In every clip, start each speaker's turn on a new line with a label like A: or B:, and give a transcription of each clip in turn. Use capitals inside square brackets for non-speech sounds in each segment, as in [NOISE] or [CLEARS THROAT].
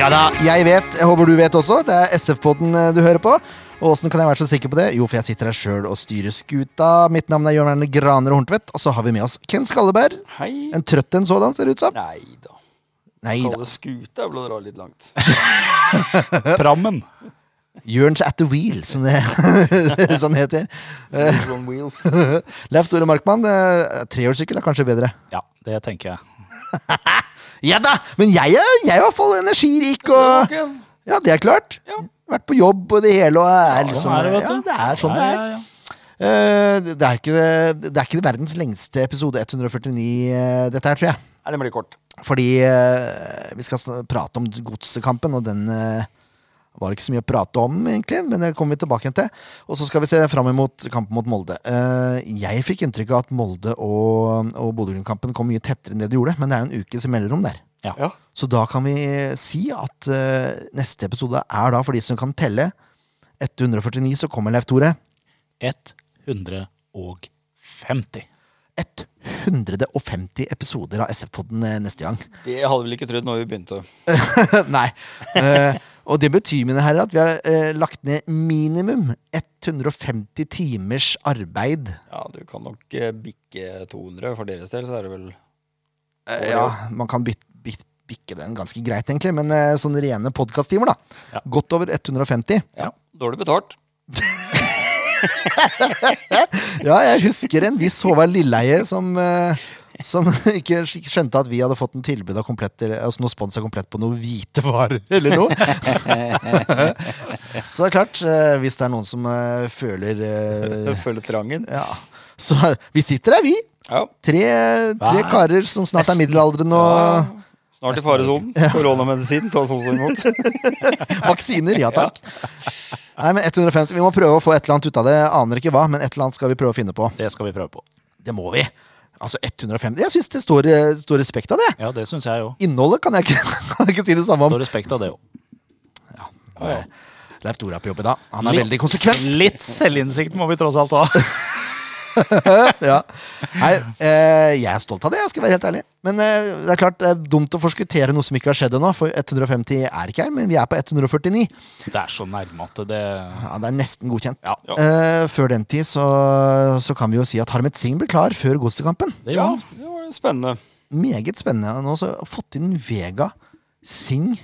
A: Ja da, jeg vet. Jeg håper du vet også. Det er SF-podden eh, du hører på. Og åssen kan jeg være så sikker på det? Jo, for jeg sitter her sjøl og styrer skuta. Mitt navn er Jørn Erne Graner Horntvedt, og så har vi med oss Ken Skalleberg.
B: Hei.
A: En trøtt en sådan, ser det ut som.
B: Nei da.
A: Nei da.
B: Kalle skuta ble å dra litt langt. [LAUGHS]
C: Prammen.
A: Jørns at the wheel, som det [LAUGHS] sånn heter.
B: On wheels.
A: [LAUGHS] Leif Tore Markmann, eh, trehjulssykkel er kanskje bedre.
C: Ja, det tenker jeg.
A: Ja da! Men jeg er, jeg er i hvert fall energirik og
B: Tilbake.
A: Ja, det er klart.
B: Ja.
A: Vært på jobb og det hele og er liksom
C: Sånn er det, vet
A: Ja,
C: du.
A: det er sånn det
C: Ja,
A: er.
C: ja, ja.
A: Eh, det, er ikke, det er ikke verdens lengste episode 149, eh, dette her, tror jeg.
B: Nei, den blir kort.
A: Fordi eh, vi skal sn- prate om godsekampen, og den eh, var ikke så mye å prate om, egentlig. Men det kommer vi tilbake igjen til. Og så skal vi se fram imot kampen mot Molde. Eh, jeg fikk inntrykk av at Molde og, og Bodø-Glimt-kampen kom mye tettere enn det de gjorde, men det er jo en uke som melder om der.
C: Ja.
A: Så da kan vi si at eh, neste episode er da for de som kan telle. Etter 149 så kommer Leif Tore.
C: 150.
A: 150 episoder av SF-podden eh, neste gang. [LAUGHS]
B: Det hadde vel ikke trodd når vi begynte.
A: Nei. Eh, og det betyr mine herrer, at vi har eh, lagt ned minimum 150 timers arbeid.
B: Ja, du kan nok eh, bikke 200 for deres del, så er det vel
A: Eh, ja, man kan byt, byt, bikke den ganske greit, egentlig, men eh, sånne rene podkasttimer, da.
C: Ja.
A: Godt over 150.
B: ja, dårlig betalt.
A: Ja, jeg husker en viss Håvard Lilleheie som eh, som [LAUGHS] ikke sk- skjønte at vi hadde fått en tilbud av komplett, eller, altså noe spons av komplett på noe hvite varer, eller noe. [LAUGHS] så det er klart, eh, hvis det er noen som eh, føler eh,
B: Følge trangen.
A: Ja. Så vi sitter her, vi.
B: Ja.
A: Tre, tre
C: Hva?
A: karer som snart er
C: Nesten.
A: middelaldrende og
B: Snart i faresonen. [LAUGHS] Koronamedisin tas også imot.
A: [LAUGHS] vaksiner. Ja takk. Nei, men 150. Vi må prøve å få et eller annet ut av det. Aner ikke hva, men et eller annet skal vi prøve å finne på.
C: Det skal vi prøve på.
A: Det må vi. Altså 150. Jeg syns det står, eh, står respekt av det.
C: Ja, det syns jeg òg.
A: Innholdet kan jeg ikke, [LAUGHS] kan jeg ikke si det samme om.
C: Står respekt av det òg.
A: Leif Tore er på jobb i dag. Han er veldig konsekvent.
C: Litt selvinnsikt må vi tross alt
A: [LAUGHS]
C: ha.
A: Ja. Nei, eh, jeg er stolt av det, jeg skal være helt ærlig. Men eh, det er klart, det er dumt å forskuttere noe som ikke har skjedd ennå. For 150 er ikke her, men vi er på 149.
C: Det er så nærme at det
A: Ja, Det er nesten godkjent.
C: Ja.
B: Ja.
A: Eh, før den tid så, så kan vi jo si at Harmet Singh ble klar før godsekampen.
C: Det
B: [LAUGHS] Ja,
C: gjør han.
B: det var spennende.
A: Meget spennende. Nå så har jeg fått inn Vega, Singh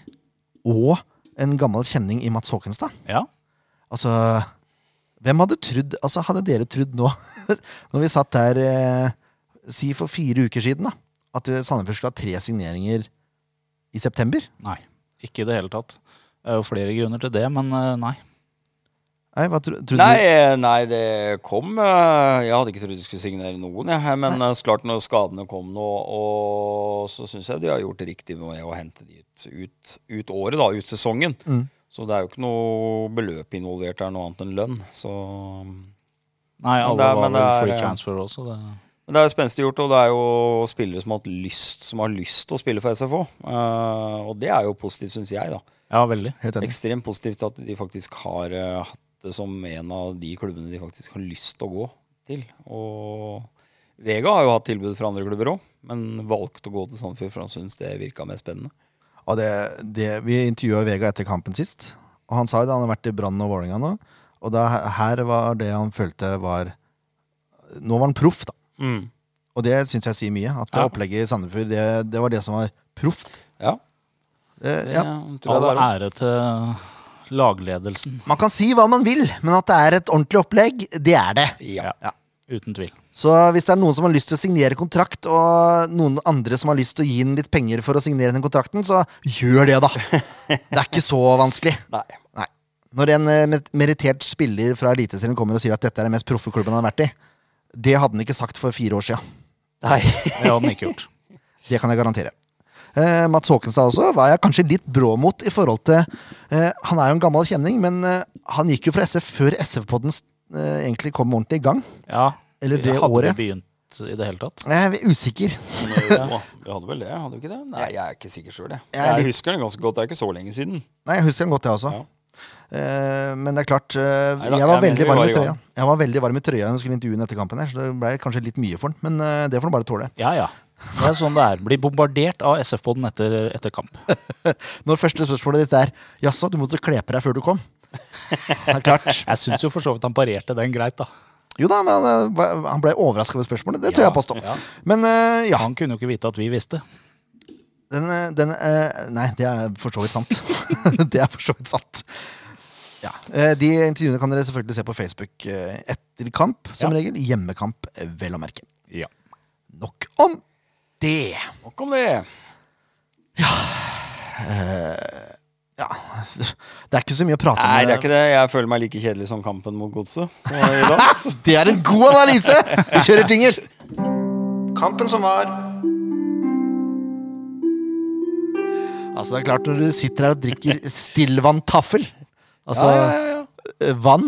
A: og en gammel kjenning i Mats Håkenstad.
C: Ja.
A: Altså, hvem hadde trodd Altså, hadde dere trodd nå, [LAUGHS] når vi satt der eh, si for fire uker siden, da, at eh, Sandefjord skulle ha tre signeringer i september?
C: Nei. Ikke i det hele tatt. Det er jo flere grunner til det, men eh, nei.
A: Nei, hva tro, trodde
B: Nei,
A: du?
B: eh, nei, det kom eh, Jeg hadde ikke trodd du skulle signere noen, jeg. Men eh, så klart, når skadene kom nå, og så syns jeg de har gjort det riktig med å hente de ut, ut, ut året, da. Ut sesongen.
A: Mm.
B: Så det er jo ikke noe beløp involvert der, noe annet enn lønn. Så Men
C: Nei, alle
B: det er-
C: var vel
B: men det er,
C: free
B: ja.
C: transfer også. Det.
B: det er jo spenstig gjort, og det er jo spillere som har hatt lyst Som har lyst til å spille for SFO. Eh, og det er jo positivt, syns jeg, da.
C: Ja, veldig.
A: Helt enig.
B: Ekstremt positivt at de faktisk har eh, hatt det som en av de klubbene de faktisk har lyst til å gå til. Og Vega har jo hatt tilbud fra andre klubber òg, men valgte å gå til Sandefjord, for han syntes det virka mer spennende.
A: Og det, det, vi intervjua Vega etter kampen sist, og han sa jo det, han har vært i Brann og Vålerenga nå. Og da, her var det han følte var Nå var han proff, da.
B: Mm.
A: Og det syns jeg sier mye. At det
C: Ja.
A: opplegget i Sandefjord, det, det var det som var proft.
B: Ja,
A: Det,
B: det
A: ja.
B: tror jeg
C: All
B: det er. også.
C: ære til lagledelsen.
A: Man kan si hva man vil, men at det er et ordentlig opplegg, det er det.
B: Ja.
C: Uten tvil.
A: Så hvis det er noen som har lyst til å signere kontrakt, og noen andre som har lyst til å gi den litt penger for å signere den kontrakten, så gjør det, da. Det er ikke så vanskelig.
B: Nei.
A: Nei. Når en eh, mer- merittert spiller fra Eliteserien kommer og sier at dette er den mest proffe klubben han har vært i, det hadde han ikke sagt for fire år sia.
C: Det hadde han ikke gjort.
A: Det kan jeg garantere. Eh, Mats Håkenstad også var jeg kanskje litt brå mot i forhold til eh, Han er jo en gammel kjenning, men eh, han gikk jo fra SF før SF-podden eh, egentlig kom ordentlig i gang.
C: Ja,
A: Eller det
C: hadde
A: året.
C: begynt i det hele tatt.
A: Jeg er usikker.
B: Jo, eh, Vi hadde vel det, hadde vi ikke det? Nei, jeg er ikke sikker sjøl, jeg.
A: Jeg er
B: Jeg
A: litt-
B: husker den ganske godt, det er ikke så lenge siden.
A: Nei, jeg husker den godt, jeg også.
B: Ja.
A: Eh, men det er klart eh,
B: Nei da,
A: Jeg var
B: jeg mener
A: veldig
B: vi
A: varm
B: var
A: i
B: i
A: trøya
B: gang.
A: Jeg var veldig varm i trøya når jeg skulle intervjue den etter kampen, her så det ble kanskje litt mye for den. Men eh, det får han bare tåle.
C: Ja, ja. Det er sånn det er. Blir bombardert av SF-poden etter, etter
A: [LAUGHS]
C: kamp.
A: Når første spørsmålet ditt er Jaså, du måtte kle på deg før du kom. Det er klart.
C: Jeg syns jo for så vidt han parerte den greit, da.
A: Jo da, men han, eh, han ble overraska over spørsmålet. Det tør
C: Ja,
A: jeg påstå.
C: ja.
A: Men eh, ja.
C: Han kunne jo ikke vite at vi visste.
A: Den, eh, den eh, Nei, det er for så vidt sant. [LAUGHS] det er for så vidt sant. Ja. eh, De intervjuene kan dere selvfølgelig se på Facebook eh, etter kamp, som
C: Ja.
A: regel. Hjemmekamp, eh, vel å merke.
C: Ja.
A: Nok om det.
B: Nok om det.
A: Ja. Det er ikke så mye å prate om.
B: Nei, det er ikke det. Jeg føler meg like kjedelig som kampen mot Godset. så i dag.
A: Det er en god analyse! Vi kjører jingle.
D: Kampen som var.
A: Altså, det er klart, når du sitter her og drikker stillvann taffel Altså
B: [LAUGHS] Ja, ja, ja, ja.
A: eh, vann.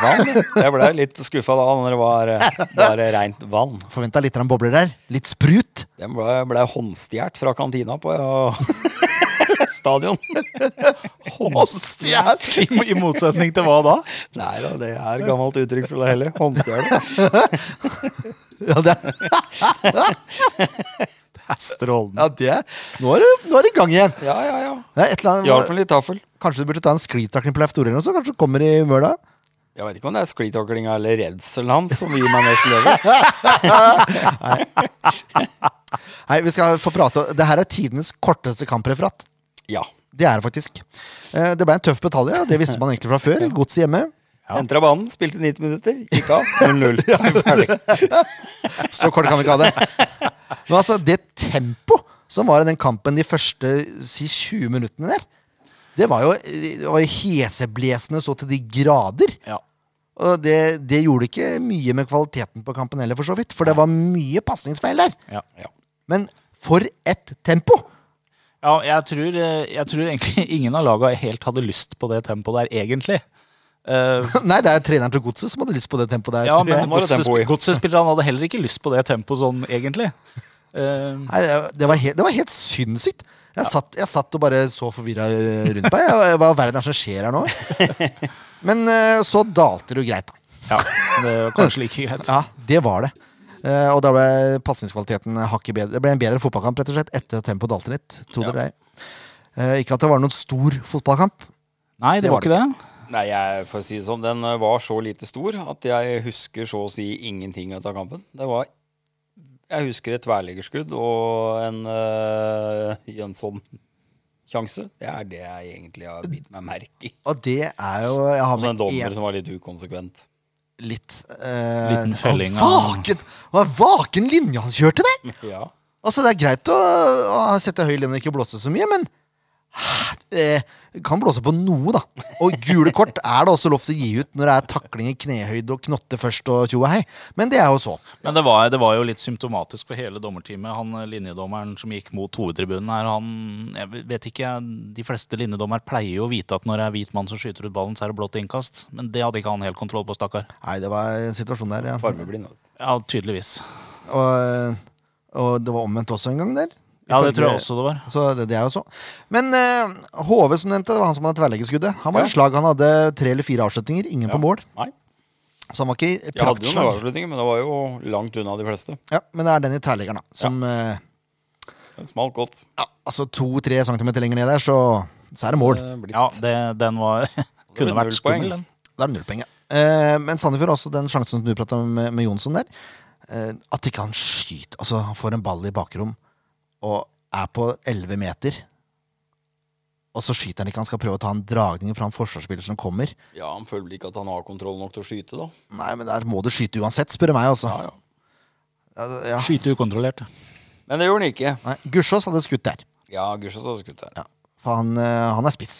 B: Vann. Jeg ble litt skuffa da når det var eh, bare rent vann.
A: Forventa litt grann bobler der. Litt sprut.
B: Den ble, ble håndstjålet fra kantina på ja, [LAUGHS] stadion.
A: Håndstjert!
C: [LAUGHS] I, I motsetning til hva da?
B: Nei da, det er gammelt uttrykk fra det hele. Håndstjålet.
A: Ja, det er,
C: Det er strålende.
A: ja, det er. Nå, er du, nå er du i gang igjen.
B: Ja, ja, ja.
A: Det er et eller
B: Hjalp
A: annet,
B: med litt taffel.
A: kanskje du burde ta en sklitakling på Leif Tore, eller noe sånt? Kanskje du kommer i møla?
B: Jeg vet ikke om det er sklitaklinga eller redselen hans som gir meg mest glede.
A: Nei, vi skal få prate Det her er tidenes korteste kampreferat.
B: Ja.
A: Det er det faktisk. Eh, Det ble en tøff betalje, og det visste man egentlig fra før. Godset hjemme.
C: Ja.
B: Entra banen, spilte 90 minutter, gikk av [LAUGHS] 0-0. Ferdig.
A: Så kort kan vi ikke ha det. Men altså, det tempo som var i den kampen de første si 20 minuttene der, det var jo det var jo heseblesende så til de grader.
C: Ja.
A: Og det, det gjorde ikke mye med kvaliteten på kampen heller, for så vidt. For det var mye pasningsfeil der.
C: ja.
B: Ja.
A: Men for et tempo! [LAUGHS]
C: Ja, jeg tror, eh, jeg tror egentlig ingen av laga helt hadde lyst på det tempoet der, egentlig. Eh,
A: Nei, det er treneren til godset som hadde lyst på det tempoet der.
C: ja,
A: tror jeg.
C: men
B: må det tempoet i.
C: godsesp- Godset-spillerne hadde heller ikke lyst på det tempoet sånn, egentlig. Eh,
A: Nei, det- det, var helt, det var helt sinnssykt. Jeg, satt, jeg satt og bare så forvirra eh, rundt meg. Jeg, hva i all verden er det som skjer her nå? Men eh, så dalte det jo greit, da.
C: ja, det var kanskje like greit.
A: Ja, det var det. Eh, og da ble pasningskvaliteten hakket bedre. Det ble en bedre fotballkamp rett og slett etter at tempoet dalte litt. Tro det eller ei. Eh, ikke at det var noen stor fotballkamp.
C: Nei, det
A: Det
C: var
A: var
C: ikke det.
B: Nei, jeg får si det sånn, den eh, var så lite stor at jeg husker så å si ingenting ut av kampen. Det var Jeg husker et tverrleggerskudd og en uh, Jønsson-sjanse. Det er det jeg egentlig har bitt meg merke i.
A: Og det er jo Jeg har
B: Og så en
A: med
B: dommer
A: Altså, en
B: som var litt ukonsekvent.
A: litt eh,
C: Liten felling
A: å,
C: av-
A: Vaken, hva vaken linje han kjørte der!
B: Ja.
A: Altså, det er greit å, å sette høy linje og ikke blåse så mye, men eh, kan blåse på noe, da. Og gule kort er det også lov til å gi ut når det er takling i knehøyde og knotte først og tjo og hei. Men det er jo så.
C: Men det var, det var jo litt symptomatisk for hele dommerteamet. Han eh, linjedommeren som gikk mot hovedtribunen her, han Jeg vet ikke, jeg- de fleste linjedommere pleier jo å vite at når det er hvit mann som skyter ut ballen, så er det blått innkast. Men det hadde ikke han helt kontroll på, stakkar.
A: Nei, det var en situasjon der, ja.
B: Fargeblind. vet du.
C: Ja, tydeligvis.
A: Og, og det var omvendt også en gang der.
C: Ja, det tror jeg
A: Ifølge-
C: også det var.
A: Så det, det er jo så. Men eh, HV som nevnte, det var han som hadde tverrleggerskuddet. Han var i slag. Han hadde tre eller fire avslutninger, ingen på mål.
B: Nei.
A: Så han var ikke i
B: Jeg hadde jo
A: praktslag.
B: noen avslutninger, men det var jo langt unna de fleste.
A: Ja, men det er den i tverrleggeren, da. Som eh,
B: Den smalt godt.
A: ja, Altså to-tre centimeter lenger ned der, så, så er det mål.
B: Det er Eh, blitt-
C: Ja, det, den var [LAUGHS]
B: ble
C: Kunne vært
B: null poeng.
C: skummel, den.
A: Da er det null poeng, ja. Eh, men Sandefjord har også den sjansen som du prata om med, med Jonsson der. Eh, at ikke han skyter. Altså, han får en ball i bakrom og er på 11 meter. Og så skyter han ikke. Han skal prøve å ta en dragning fra en forsvarsspiller som kommer.
B: Ja, Han føler vel ikke at han har kontroll nok til å skyte, da.
A: Nei, men der må du skyte uansett, spør du meg, altså.
B: Ja, ja.
A: Altså, ja.
C: Skyte ukontrollert.
B: Men det gjorde han ikke.
A: Nei, Gussiås hadde skutt der.
B: Ja, Gusjås hadde skutt der.
A: Ja, for han, eh, han er spiss.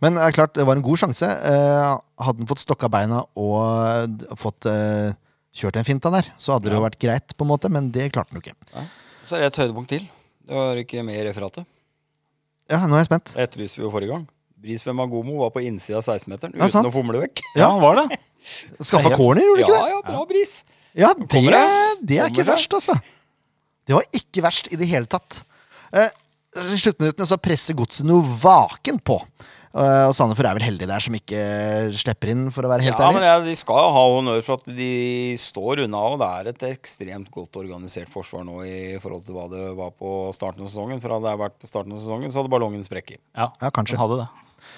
A: Men det er klart, det var en god sjanse. Eh, hadde han fått stokka beina og d- fått eh, kjørt en finta der, så hadde det jo vært greit, på en måte, men det klarte han jo ikke.
B: Så er det et høydepunkt til. Det var ikke med i referatet.
A: Ja, nå er jeg spent.
B: Det etterlyste vi jo forrige gang. Brisbane Magomo var på innsida av 16-meteren
A: Ja,
B: uten
A: sant.
B: å fomle vekk.
C: Ja, han var det.
A: Skaffa
C: Nei, jeg-
A: corner, gjorde du ikke
B: Ja,
A: det?
B: ja, bra bris.
A: Ja,
B: Kommer
A: det, det er ikke
B: Kommer seg.
A: verst, altså. Det var ikke verst i det hele tatt. Eh, I sluttminuttene så presser godset noe vaken på. Eh, og Sandefjord er vel heldig der, som ikke eh, slipper inn, for å være helt
B: ja, men
A: ærlig.
B: jeg, De skal jo ha honnør for at de står unna, og det er et ekstremt godt organisert forsvar nå i forhold til hva det var på starten av sesongen. For hadde det vært på starten av sesongen, så hadde ballongen sprekket.
C: Ja,
A: Ja, kanskje.
C: den hadde det.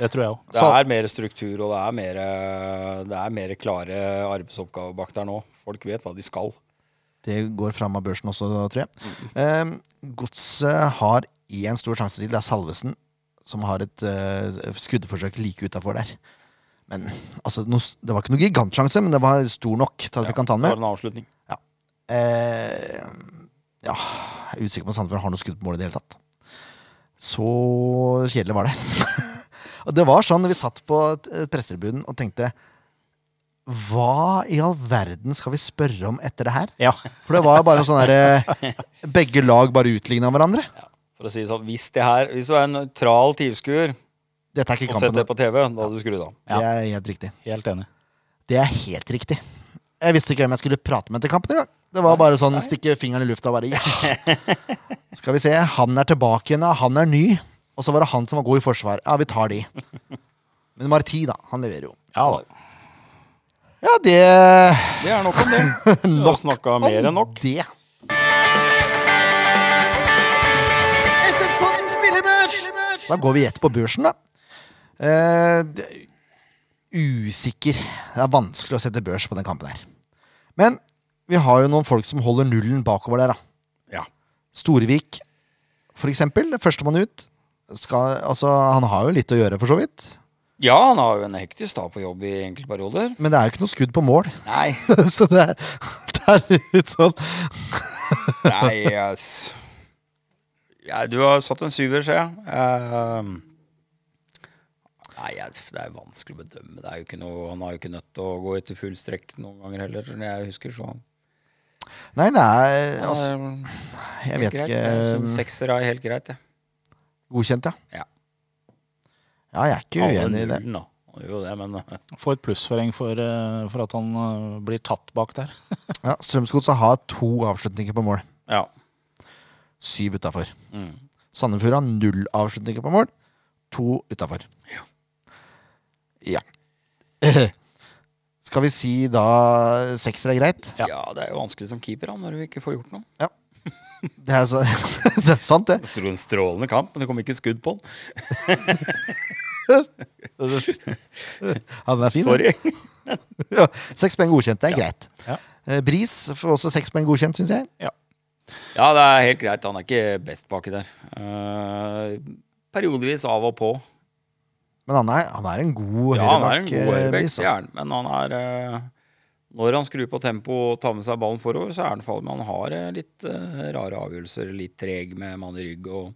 C: Det tror jeg òg.
B: Det
A: Så-
B: er mer struktur, og det er mer, eh, det er mer klare arbeidsoppgaver bak der nå. Folk vet hva de skal.
A: Det går fram av børsen også, tror jeg. Eh, Godset har én stor sjanse til. Det er Salvesen, som har et eh, skuddforsøk like utafor der. Men altså, no, det var ikke noen gigantsjanse, men det var stor nok til at vi kan ta den
B: Bare
A: med.
B: en avslutning.
A: Eh, ja, jeg er usikker på om Sandefjord har noe skudd på mål i det hele tatt. Så kjedelig var det. [LAUGHS] og det var sånn vi satt på eh, pressetribunen og tenkte Hva i all verden skal vi spørre om etter det her?
C: Ja.
A: For det var jo bare sånn derre Begge lag bare utligna hverandre.
B: For å si det sånn, hvis, det her, hvis du er en nøytral tilskuer
A: Dette er ikke
B: og setter
A: kampen.
B: det på TV, da hadde du skrudd av.
C: Ja.
A: Det er helt riktig.
C: Helt enig.
A: Det er helt riktig. Jeg visste ikke hvem jeg skulle prate med til kampen engang. Det var bare sånn stikke fingeren i lufta og bare ja. Skal vi se, han er tilbake igjen, ja, han er ny. Og så var det han som var god i forsvar. Ja, vi tar de. Men Marti, da. Han leverer jo.
C: Ja da.
A: Ja, det
B: Det er nok [LAUGHS] om det. Du har snakka mer enn nok.
A: Det.
D: SF-podden spillebørs!
A: Så da går vi gjett på børsen, da. Eh, det- usikker. Det er vanskelig å sette børs på den kampen her. Men vi har jo noen folk som holder nullen bakover der, da.
B: Ja.
A: Storvik, for eksempel. Førstemann ut. Skal, altså, han har jo litt å gjøre, for så vidt.
B: ja, han har jo en hektisk dag på jobb i enkelte perioder.
A: Men det er jo ikke noe skudd på mål. [LAUGHS]
B: Nei,
A: så det er, det er litt sånn
B: nei ass. ja, Du har satt en syver, ser jeg. Ehm, nei, jeg- det er vanskelig å bedømme. Det er jo ikke noe, han har jo ikke nødt til å gå etter full strekk noen ganger heller, som jeg husker. Så.
A: Nei, nei, altså,
B: Ehm,
A: jeg
B: helt
A: vet
B: greit. Jeg synes
A: ikke.
B: Sekser er sånn helt greit, jeg.
A: Godkjent, ja.
B: Ja.
A: Ja, jeg er ikke uenig i det.
B: Nullen, da. Han gjør jo det, men [LAUGHS] eh,
C: Få et plussforeng for, eh, for at han eh, blir tatt bak der.
A: Ja, Strømsgodset har to avslutninger på mål.
B: ja.
A: Syv utafor.
B: Mm.
A: Sandefjord har null avslutninger på mål. To utafor. Ja. [LAUGHS] Skal vi si da sekser er greit?
C: Ja.
B: ja, det er jo vanskelig som keeper da, når du ikke får gjort noe.
A: Det er, så, [LAUGHS] det er sant, det.
B: Det sto en strålende kamp, men det kom ikke skudd på han.
A: Ja, den er fin. den.
B: Sorry.
A: Ja, seks poeng godkjent, det er greit.
C: Ja.
A: Eh, Bris får også seks poeng godkjent, syns jeg.
B: Ja, det er helt greit. Han er ikke best baki der. Eh, periodevis av og på.
A: Men han er, han er en god
B: Ja, han er en
A: høyreback.
B: god
A: eh,
B: høyrebekk,
A: Bris,
B: det er han. Men han er eh, Når han skrur på tempo og tar med seg ballen forover, så er han farlig. Men han har eh, litt eh, rare avgjørelser. Litt treg med mann i rygg og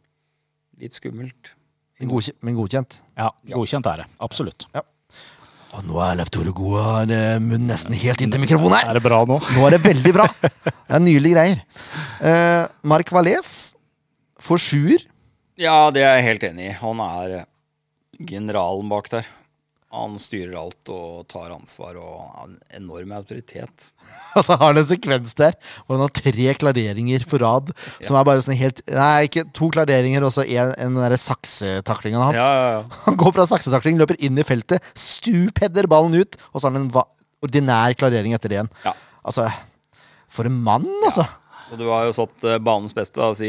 B: litt skummelt.
A: Men godkjent. Men godkjent.
C: Ja,
B: Ja.
C: godkjent er det. Absolutt.
A: Og nå er Leif Tore Goe har eh, munnen nesten helt inntil mikrofonen her!
C: Er det bra nå?
A: Nå er det veldig bra. Det er nydelige greier. Eh, Mark Valais får sjuer. [LAUGHS]
B: Ja, det er jeg helt enig i. Han er eh, generalen bak der. Han styrer alt og tar ansvar og han har en enorm autoritet.
A: Og så har han en sekvens der hvor han har tre klareringer på rad. Som er bare sånn helt Nei, ikke to klareringer og så en, en den derre saksetaklinga hans.
B: Ja, ja, ja.
A: [LAUGHS] Han går fra saksetakling, løper inn i feltet, stupheader ballen ut, og så har han en va ordinær klarering etter det igjen.
B: Ja.
A: Altså, for en mann, altså!
B: Så du har jo satt eh, banens beste, da, si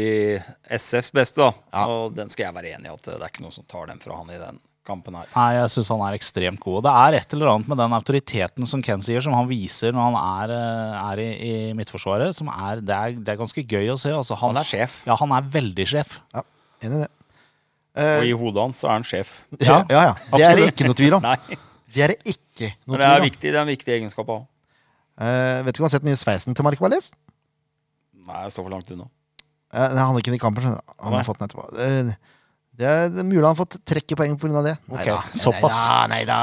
B: SFs beste, da.
A: Ja.
B: Og den skal jeg være enig i at eh, det er ikke noen som tar den fra han i den kampen her.
C: Nei, jeg syns han er ekstremt god. Og det er et eller annet med den autoriteten som Ken sier, som han viser når han er, eh, er i, i Midtforsvaret, som er det, er det er ganske gøy å se. Altså, han,
B: Han er sjef,
C: Ja, han er veldig sjef.
A: Ja, enig i det.
B: og i hodet hans så er han sjef.
A: Eh, Ja, ja, ja. Det er det
C: absolutt.
A: ikke noe tvil om.
B: Nei,
A: Det er det ikke noe
B: men det er
A: tvil om.
B: viktig, det er en viktig egenskap å ha.
A: Eh, vet du ikke om du har sett den nye sveisen til Mark Valais?
B: Nei, jeg står for langt unna.
A: Eh, nei, han hadde ikke den i kampen, skjønner du. Han
B: Nei.
A: har fått den etterpå. Eh, det er det er mulig han har fått trekkepoeng pga. det.
C: Ok,
A: Neida,
C: såpass.
A: Nei da.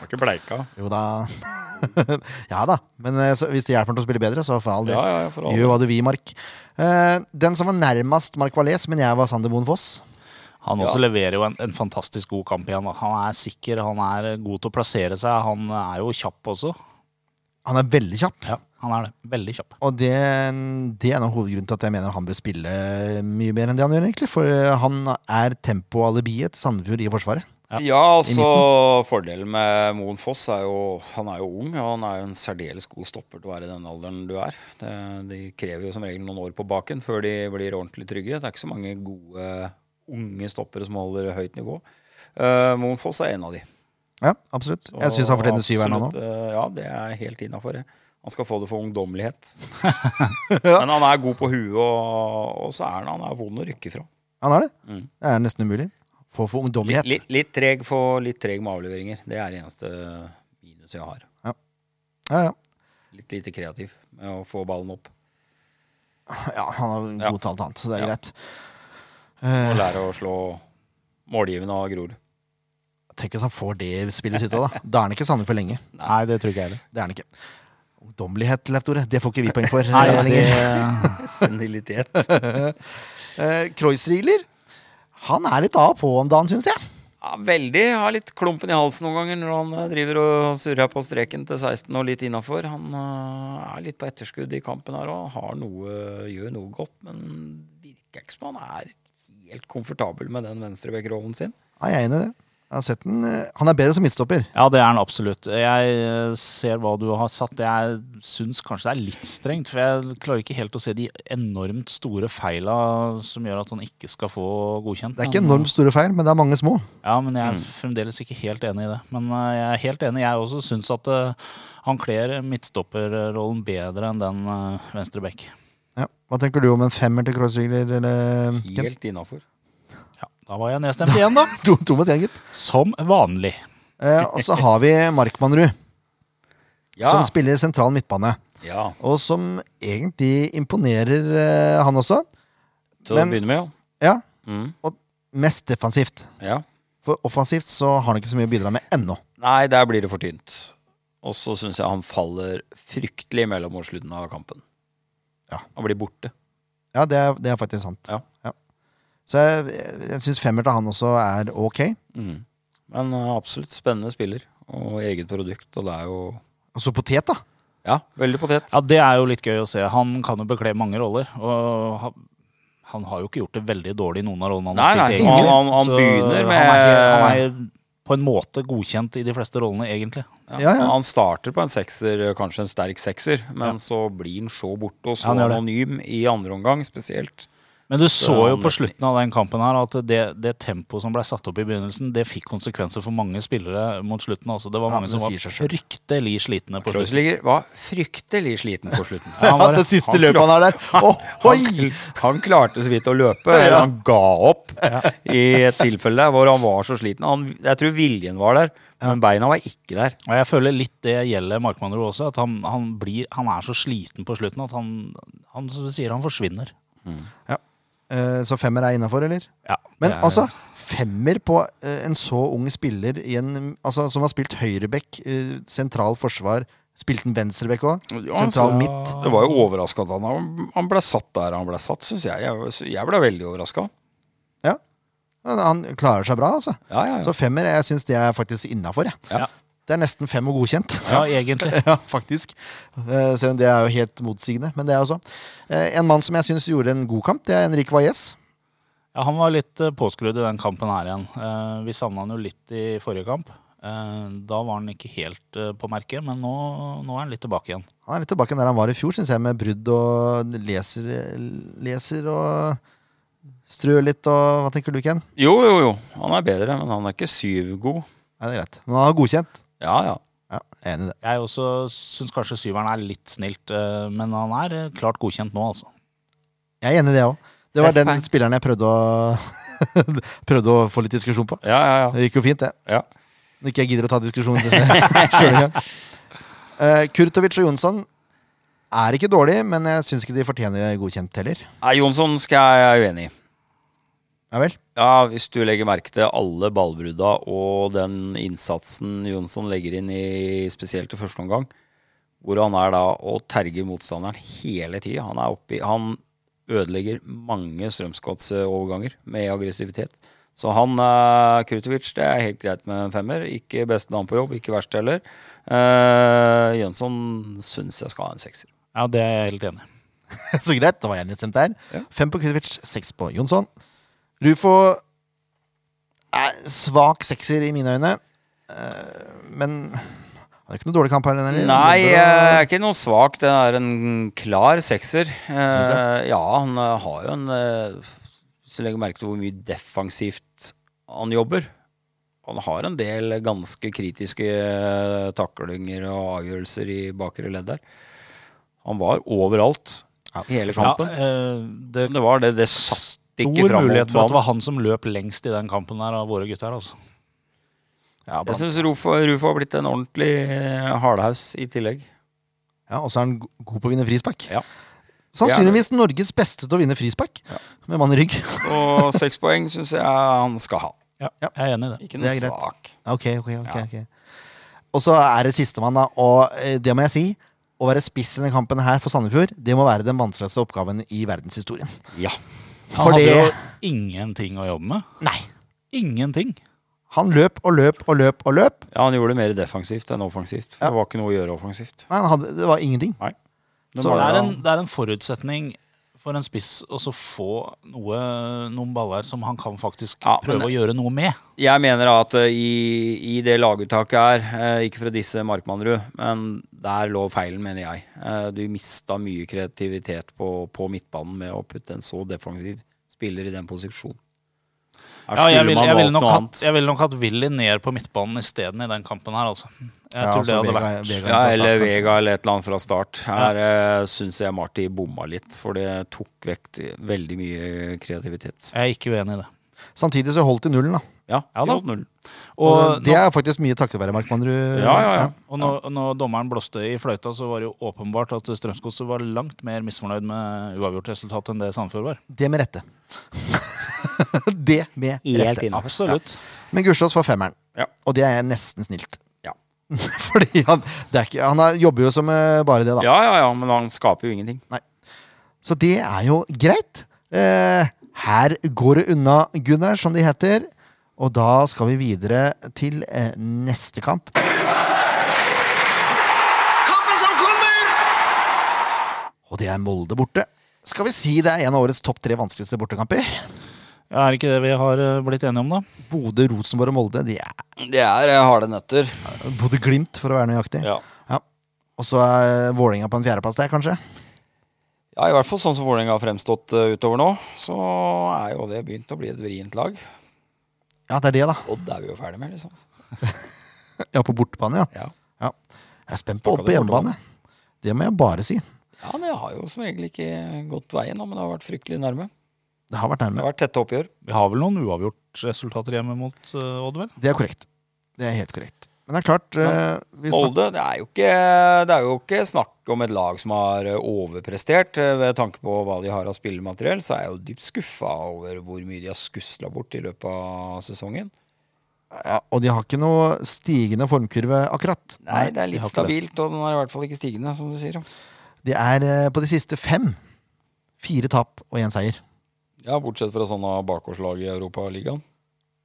B: Var ikke bleika.
A: Jo da. [LAUGHS] ja da. Men eh, så, hvis det hjelper han til å spille bedre, så for all del.
B: Ja, ja, ja, for all
A: Gjør hva du vil, Mark. Eh, den som var nærmest Mark Valais, men jeg var Sander Moen Foss.
C: Han også leverer jo en, en fantastisk god kamp igjen. da. Han er sikker, han er god til å plassere seg. Han er jo kjapp også.
A: Han er veldig kjapp.
C: Ja, han er det. Veldig kjapp.
A: Og det, det er en av hovedgrunnen til at jeg mener han bør spille mye mer enn det han gjør, egentlig. For eh, han er tempoalibiet til Sandefjord i Forsvaret.
C: Ja,
B: Ja, altså Fordelen med Moen Foss er jo Han er jo ung, og han er jo en særdeles god stopper til å være i den alderen du er. Det, de krever jo som regel noen år på baken før de blir ordentlig trygge. Det er ikke så mange gode unge stoppere som holder høyt nivå. Uh, Moen Foss er en av de.
A: Ja, absolutt. Jeg syns han fortjener syveren, han òg.
B: Absolutt, eh, Ja, det er helt innafor. Han skal få det for
A: [LAUGHS]
B: ungdommelighet. Men han er god på huet, og, og så er han, han er vond å rykke fra.
A: Han er det.
B: Mm.
A: Det er nesten umulig. For for
B: Litt,
A: ungdommelighet.
B: litt, litt, treg for, litt treg med avleveringer. Det er det eneste minuset jeg har.
A: Ja, ja.
B: Litt lite kreativ med å få ballen opp.
A: ja, han har
B: Ja.
A: god talt annet, så det er
B: Ja.
A: greit. Eh,
B: Og lære å slå målgivende av Grorud.
A: [LAUGHS] tenk hvis han får det spillet sitt òg, da. Da er han ikke Sandefjord for lenge.
C: Nei, det tror ikke jeg heller.
A: Det er han ikke. Ungdommelighet, Leif Tore, det får ikke vi poeng for.
C: Nei,
A: eh, lenger.
C: det,
B: Senilitet.
A: [LAUGHS] Eh, Kreuzrigler, han er litt av og på om dagen, syns jeg.
B: Ja, veldig. Jeg har litt klumpen i halsen noen ganger når han eh, driver og surrer på streken til 16 og litt innafor. Han eh, er litt på etterskudd i kampen her og har noe, gjør noe godt, men virker ikke som han er helt komfortabel med den venstrebekkrollen sin.
A: Ja, jeg er enig i det. Jeg har sett den. eh, Han er bedre som midtstopper.
C: ja, det er han absolutt. Jeg eh, ser hva du har satt. Jeg syns kanskje det er litt strengt, for jeg klarer ikke helt å se de enormt store feila som gjør at han ikke skal få godkjent.
A: Det er ikke
C: Men- eh,
A: enormt store feil, men det er mange små.
C: Ja, men jeg er fremdeles ikke helt enig i det. Men eh, jeg er helt enig. Jeg også syns at eh, han kler midtstopperrollen bedre enn den eh, venstre back.
A: Ja. Hva tenker du om en femmer til Kreuzrigler, eller Kent? [LAUGHS]
B: Helt innafor.
C: Ja, da var jeg nedstemt igjen, da.
A: To, to mot én, gitt.
C: Som vanlig.
A: Eh, og så har vi Markmannrud,
B: Ja.
A: som spiller sentral midtbane.
B: ja,
A: Og som egentlig imponerer, eh, han også.
B: til å
A: Men-
B: begynne med,
A: Ja,
B: ja. Mm,
A: Mest defensivt.
B: ja.
A: For offensivt så har han ikke så mye å bidra med ennå.
B: Nei, der blir det for tynt. Og så syns jeg han faller fryktelig imellom mot slutten av kampen.
A: Ja.
B: Han blir borte.
A: Ja, det er, det er faktisk sant.
B: Ja.
A: Så jeg, jeg syns femmer til han også er ok.
B: Mm. Men eh, absolutt spennende spiller, og eget produkt, og det er jo
A: Og så potet, da.
B: Ja, veldig potet.
C: Ja, det er jo litt gøy å se. Han kan jo bekle mange roller. Og han, han har jo ikke gjort det veldig dårlig i noen av rollene han
B: Nei,
C: har
B: nei,
C: spilt.
B: han-
C: egentlig.
B: han- han
C: Så
B: begynner
C: Han er,
B: med-
C: han er på en måte godkjent i de fleste rollene, egentlig.
B: Ja.
A: Ja, ja.
B: Han starter på en sekser, eh, kanskje en sterk sekser, men
C: Ja.
B: så blir han så borte og
C: Ja,
B: så
C: han gjør det.
B: anonym i andre omgang, spesielt.
C: Men du så jo
B: han
C: på
B: vet
C: slutten av den kampen her at det, det tempoet som ble satt opp i begynnelsen, det fikk konsekvenser for mange spillere mot slutten. Altså. Det var
A: Ja,
C: mange
A: det
C: som var
A: sier seg selv.
C: fryktelig slitne på slutten.
B: Kreuzliger var fryktelig sliten på [LAUGHS] slutten.
C: Ja, han var-
A: det siste
C: han-
A: løpet han er der.
B: Han,
A: Ohoi!
B: han klarte så vidt å løpe. eller Han ga opp i et tilfelle der hvor han var så sliten. Han, jeg tror viljen var der, men beina var ikke der.
C: Og jeg føler litt det gjelder Markmannrud også, at han, han, blir, han er så sliten på slutten at han, han som du sier, han forsvinner.
A: Eh, Så femmer er innafor, eller?
C: Ja,
A: Men
C: det er-
A: altså, femmer på eh, en så ung spiller i en, altså, som har spilt høyrebekk, eh, sentral forsvar Spilte han venstrebekk òg? Sentral
B: så-
A: midt?
B: Det var jo overraska at han, han ble satt der han ble satt, syns jeg. jeg. Jeg ble veldig overraska.
A: Han han klarer seg bra, altså.
B: Ja, ja, ja.
A: Så femmer jeg syns det er faktisk innafor.
B: Ja.
A: Det er nesten fem og godkjent. [LAUGHS]
C: Ja, egentlig.
A: ja, faktisk. Eh, Selv om det er jo helt motsigende. Men det er jo så. Eh, En mann som jeg syns gjorde en god kamp, det er Henrik Valles.
C: Ja, han var litt eh, påskrudd i den kampen her igjen. Eh, vi savna han jo litt i forrige kamp. Eh, da var han ikke helt eh, på merket, men nå, nå er han litt tilbake igjen.
A: Han er litt tilbake der han var i fjor, syns jeg, med brudd og leser, leser og strø litt og Hva tenker du, Ken?
B: Jo, jo, jo. Han er bedre, men han er ikke syvgod.
A: Nei, det er greit. Men han har godkjent.
B: Ja, ja.
A: Ja, jeg er enig i det.
C: Jeg også syns kanskje syveren er litt snilt, eh, men han er eh, klart godkjent nå, altså.
A: Jeg er enig i det òg. Det var
B: Best
A: den
B: poeng.
A: spilleren jeg prøvde å [LAUGHS] Prøvde å få litt diskusjon på.
B: ja, ja, ja.
A: Det gikk jo fint, det.
B: ja.
A: Når ikke jeg gidder å ta diskusjonen til
B: [LAUGHS]
A: sjøl engang. Eh, Kurtovic og Jonsson er ikke dårlig, men jeg syns ikke de fortjener godkjent heller.
B: Nei, Jonsson skal jeg, jeg er uenig i.
A: Ja vel? [LAUGHS]
B: Ja, Hvis du legger merke til alle ballbrudda og den innsatsen Jonsson legger inn i spesielt i første omgang, hvor han er da og terger motstanderen hele tida. Han er oppi Han ødelegger mange Strømsgodset-overganger med aggressivitet. Så han eh, Krutovic, det er helt greit med en femmer. Ikke beste navn på jobb, ikke verst heller. Eh, Jønsson syns jeg skal ha en sekser.
C: Ja, det er jeg helt enig i.
A: Så greit, da var jeg nedstemt der.
B: Ja.
A: Fem på Kurtovic, seks på Jonsson. Rufo er svak sekser i mine øyne. Eh, men det er ikke noe dårlig kamp her. den heller.
B: Nei,
A: Lindberg-
B: eh, jeg er ikke noe svak. Det er en klar sekser. Eh, ja, han eh, har jo en eh, Hvis du legger merke til hvor mye defensivt han jobber. Han har en del ganske kritiske eh, taklinger og avgjørelser i bakre ledd der. Han var overalt
A: Ja.
B: hele
C: Ja,
B: kampen.
C: eh, det
B: Det var det. Det satt ikke
C: Stor
B: framover
C: mulighet for at det
B: banen.
C: var han som løp lengst i den kampen der av våre gutter. altså.
A: Ja, blant-
B: Jeg syns Rufo, Rufo har blitt en ordentlig eh, hardhaus i tillegg.
A: ja, Og så er han go- god på å vinne frispark.
B: Ja.
A: Sannsynligvis Norges beste til å vinne frispark, med mann i rygg.
B: Og [LAUGHS] seks poeng syns jeg han skal ha.
C: Ja,
A: Ja.
C: Jeg er enig i det.
B: Ikke noe
A: Det er greit.
B: svak.
A: Ja, Ok, ok, ok,
B: Ja.
A: ok. Og så er det sistemann, da. Og eh, det må jeg si, å være spiss i denne kampen her for Sandefjord, det må være den vanskeligste oppgaven i verdenshistorien.
B: Ja.
C: Han
A: Fordi-
C: hadde jo ingenting å jobbe med.
A: Nei.
C: Ingenting.
A: Han løp og løp og løp og løp.
B: Ja, han gjorde det mer defensivt enn offensivt. For
A: Ja.
B: Det var ikke noe å gjøre offensivt.
A: Nei, han hadde, det var ingenting.
B: Nei.
A: Så
C: Det
B: var
C: er,
B: jo-
C: en, det er en forutsetning for en spiss å så få noe, noen baller som han kan faktisk
B: Ja, men-
C: prøve å gjøre noe med.
B: Jeg mener at eh, i, i det laguttaket her, eh, ikke for å disse Markmannrud, men der lå feilen, mener jeg. Eh, Du mista mye kreativitet på, på midtbanen med å putte en så defensiv spiller i den posisjonen. Her
C: Ja, jeg
B: skulle
C: ville
B: man
C: jeg
B: valgt
C: ville nok,
B: noe
C: hatt-
B: annet.
C: jeg ville nok hatt Willy ned på midtbanen isteden i den kampen her, altså. Jeg
A: Ja,
C: tror det
A: altså,
C: hadde
A: Vega-
C: vært
A: Vega fra
B: Ja,
A: start,
B: eller
A: kanskje.
B: Vega eller et eller annet fra start. Her ja. syns jeg Marti bomma litt, for det tok vekk veldig mye kreativitet.
C: Jeg er ikke uenig i det.
A: Samtidig så holdt de nullen, da.
B: Ja,
C: Ja da.
B: vi holdt null.
A: Og
C: Og
A: det
C: nå,
A: er faktisk mye takket være Markmannrud.
B: Ja, ja, ja.
C: og når, når dommeren blåste i fløyta, så var det jo åpenbart at Strømsgodset var langt mer misfornøyd med uavgjort resultat enn det Sandefjord var.
A: Det med rette. [LAUGHS] det med
B: Helt
A: rette.
B: inne.
C: Absolutt.
A: Men Gussiås får femmeren,
B: Ja.
A: og det er nesten snilt. [LAUGHS]
B: Ja.
A: Fordi han, det er ikke, han er, jobber jo som eh, bare det, da.
B: Ja, ja, ja, men han skaper jo ingenting.
A: Så det er jo greit. Eh, her går det unna, Gunnar, som de heter. Og da skal vi videre til eh, neste kamp.
D: Kampen som kommer!
A: Og det er Molde borte. Skal vi si det er en av årets topp tre vanskeligste bortekamper?
C: Ja, er det ikke det vi har eh, blitt enige om, da?
A: Bodø, Rosenborg og Molde. De er
B: Det er eh, harde nøtter.
A: Bodø-Glimt, for å være nøyaktig.
B: [LAUGHS] Ja.
A: Og så er Vålerenga på en fjerdeplass der, kanskje.
B: I hvert fall sånn som Vålerenga har fremstått eh, utover nå, så er jo det begynt å bli et vrient lag.
A: Ja, det er det, da.
B: Odd er vi jo ferdig med, liksom.
A: Ja, på bortebane, ja.
B: Ja,
A: Jeg er spent på
B: Snakket
A: Odd på
B: du
A: hjemmebane. Det må jeg bare si.
B: ja men det har jo som regel ikke gått veien, da, men det har vært fryktelig nærme.
A: Det har vært
B: Det
A: nærme.
B: har vært tette oppgjør.
C: Vi har vel noen uavgjort-resultater hjemme mot eh, Odd, vel?
A: Det er korrekt. Det er helt korrekt. Men det er klart eh, vi snak-
B: Molde, det er, jo ikke, det er jo ikke snakk om et lag som har eh, overprestert. Eh, Ved tanke på hva de har av spillemateriell, så er jeg jo dypt skuffa over hvor mye de har skusla bort i løpet av sesongen.
A: ja, Og de har ikke noe stigende formkurve, akkurat.
B: Nei, det er
C: de
B: litt
C: har ikke
B: stabilt, og den er i hvert fall ikke stigende, som du sier. ja.
A: De er eh, på de siste fem. Fire tap og én seier.
B: Ja, bortsett fra sånne bakgårdslag i Europaligaen.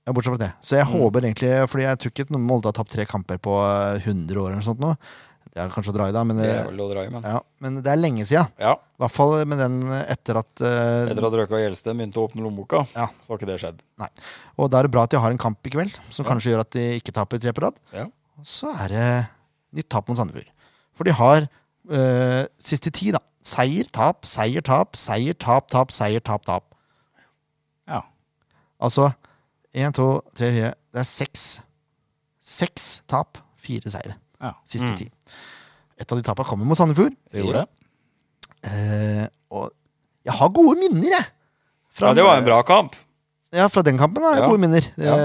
A: Ja, bortsett fra det. Så
B: Mm.
A: jeg håper egentlig Fordi jeg tror ikke noen Molde har tapt tre kamper på eh, 100 år eller noe sånt nå. Det er kanskje å dra i, da, men det,
B: Det er vel å dra i, men.
A: ja, men det er lenge sia.
B: Ja.
A: I hvert fall med den eh, etter at, eh,
B: Etter at Røka Gjelste begynte å åpne lommeboka,
A: Ja.
B: så har ikke det skjedd.
A: Nei. Og da er det bra at de har en kamp i kveld, som kanskje gjør at de ikke taper tre på rad.
B: Ja.
A: Og så er det nytt tap mot Sandefjord. For de har eh, siste ti, da. Seier, tap, seier, tap, seier, tap, tap, seier, tap, tap.
C: Ja.
A: Altså én, to, tre, fire Det er seks. Seks tap, fire seire.
C: Ja.
A: Siste
B: Mm.
A: ti. Et av de tapene kommer mot Sandefjord.
C: Det gjorde det.
A: Eh, og jeg har gode minner, jeg! Fra-
B: Ja, det var en bra kamp.
A: Ja, fra den kampen har jeg
B: Ja.
A: gode minner.
B: Ja.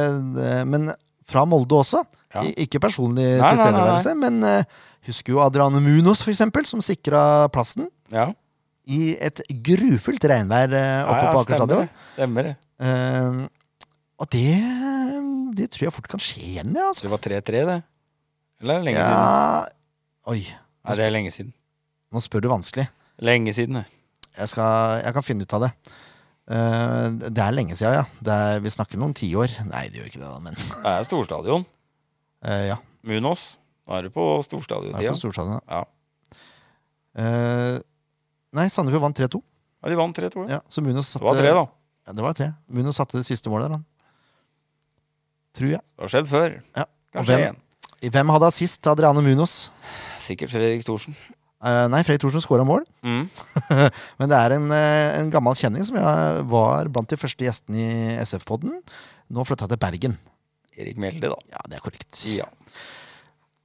A: Eh, Men fra Molde også.
B: Ja.
A: I- Ikke personlig
B: nei, nei,
A: tilstedeværelse, men eh, husker jo Adriane Munoz, for eksempel, som sikra plassen
B: Ja,
A: i et grufullt regnvær eh, oppe på Aker
B: stemmer
A: stadion.
B: det. Stemmer det.
A: Eh, og det, det tror jeg fort kan skje igjen, ja, altså.
B: Det var 3-3, det. Eller er det lenge siden?
A: Ja. Oi,
B: Nei, det er lenge siden.
A: nå spør du vanskelig.
B: Lenge siden, det.
A: Jeg, skal, jeg kan finne ut av det. Eh, det er lenge siden, ja. Det er, vi snakker noen tiår. Nei, det gjør ikke det, da, men
B: Det er storstadion.
A: eh, ja.
B: Munos. Da er det på
A: Det er
B: storstadiontida.
A: på storstadion,
B: Ja.
A: Eh, nei, Sandefjord vant 3-2.
B: ja, de vant 3-2. Ja.
A: Ja, så Munoz satte,
B: Det var tre, da.
A: Ja, det var tre. Munoz satte det siste målet der, han. tror jeg.
B: Det har skjedd før.
A: Ja. Og
B: Kanskje
A: hvem,
B: igjen.
A: hvem hadde assist til Adriane Munoz?
B: Sikkert Fredrik Thorsen.
A: Eh, nei, Fredrik Thorsen skåra mål. [LAUGHS]
B: Mm.
A: Men det er en, eh, en gammel kjenning som jeg var blant de første gjestene i SF-podden. Nå flytta jeg til Bergen.
B: Erik Mjelde, da.
A: Ja, det er korrekt.
B: Ja.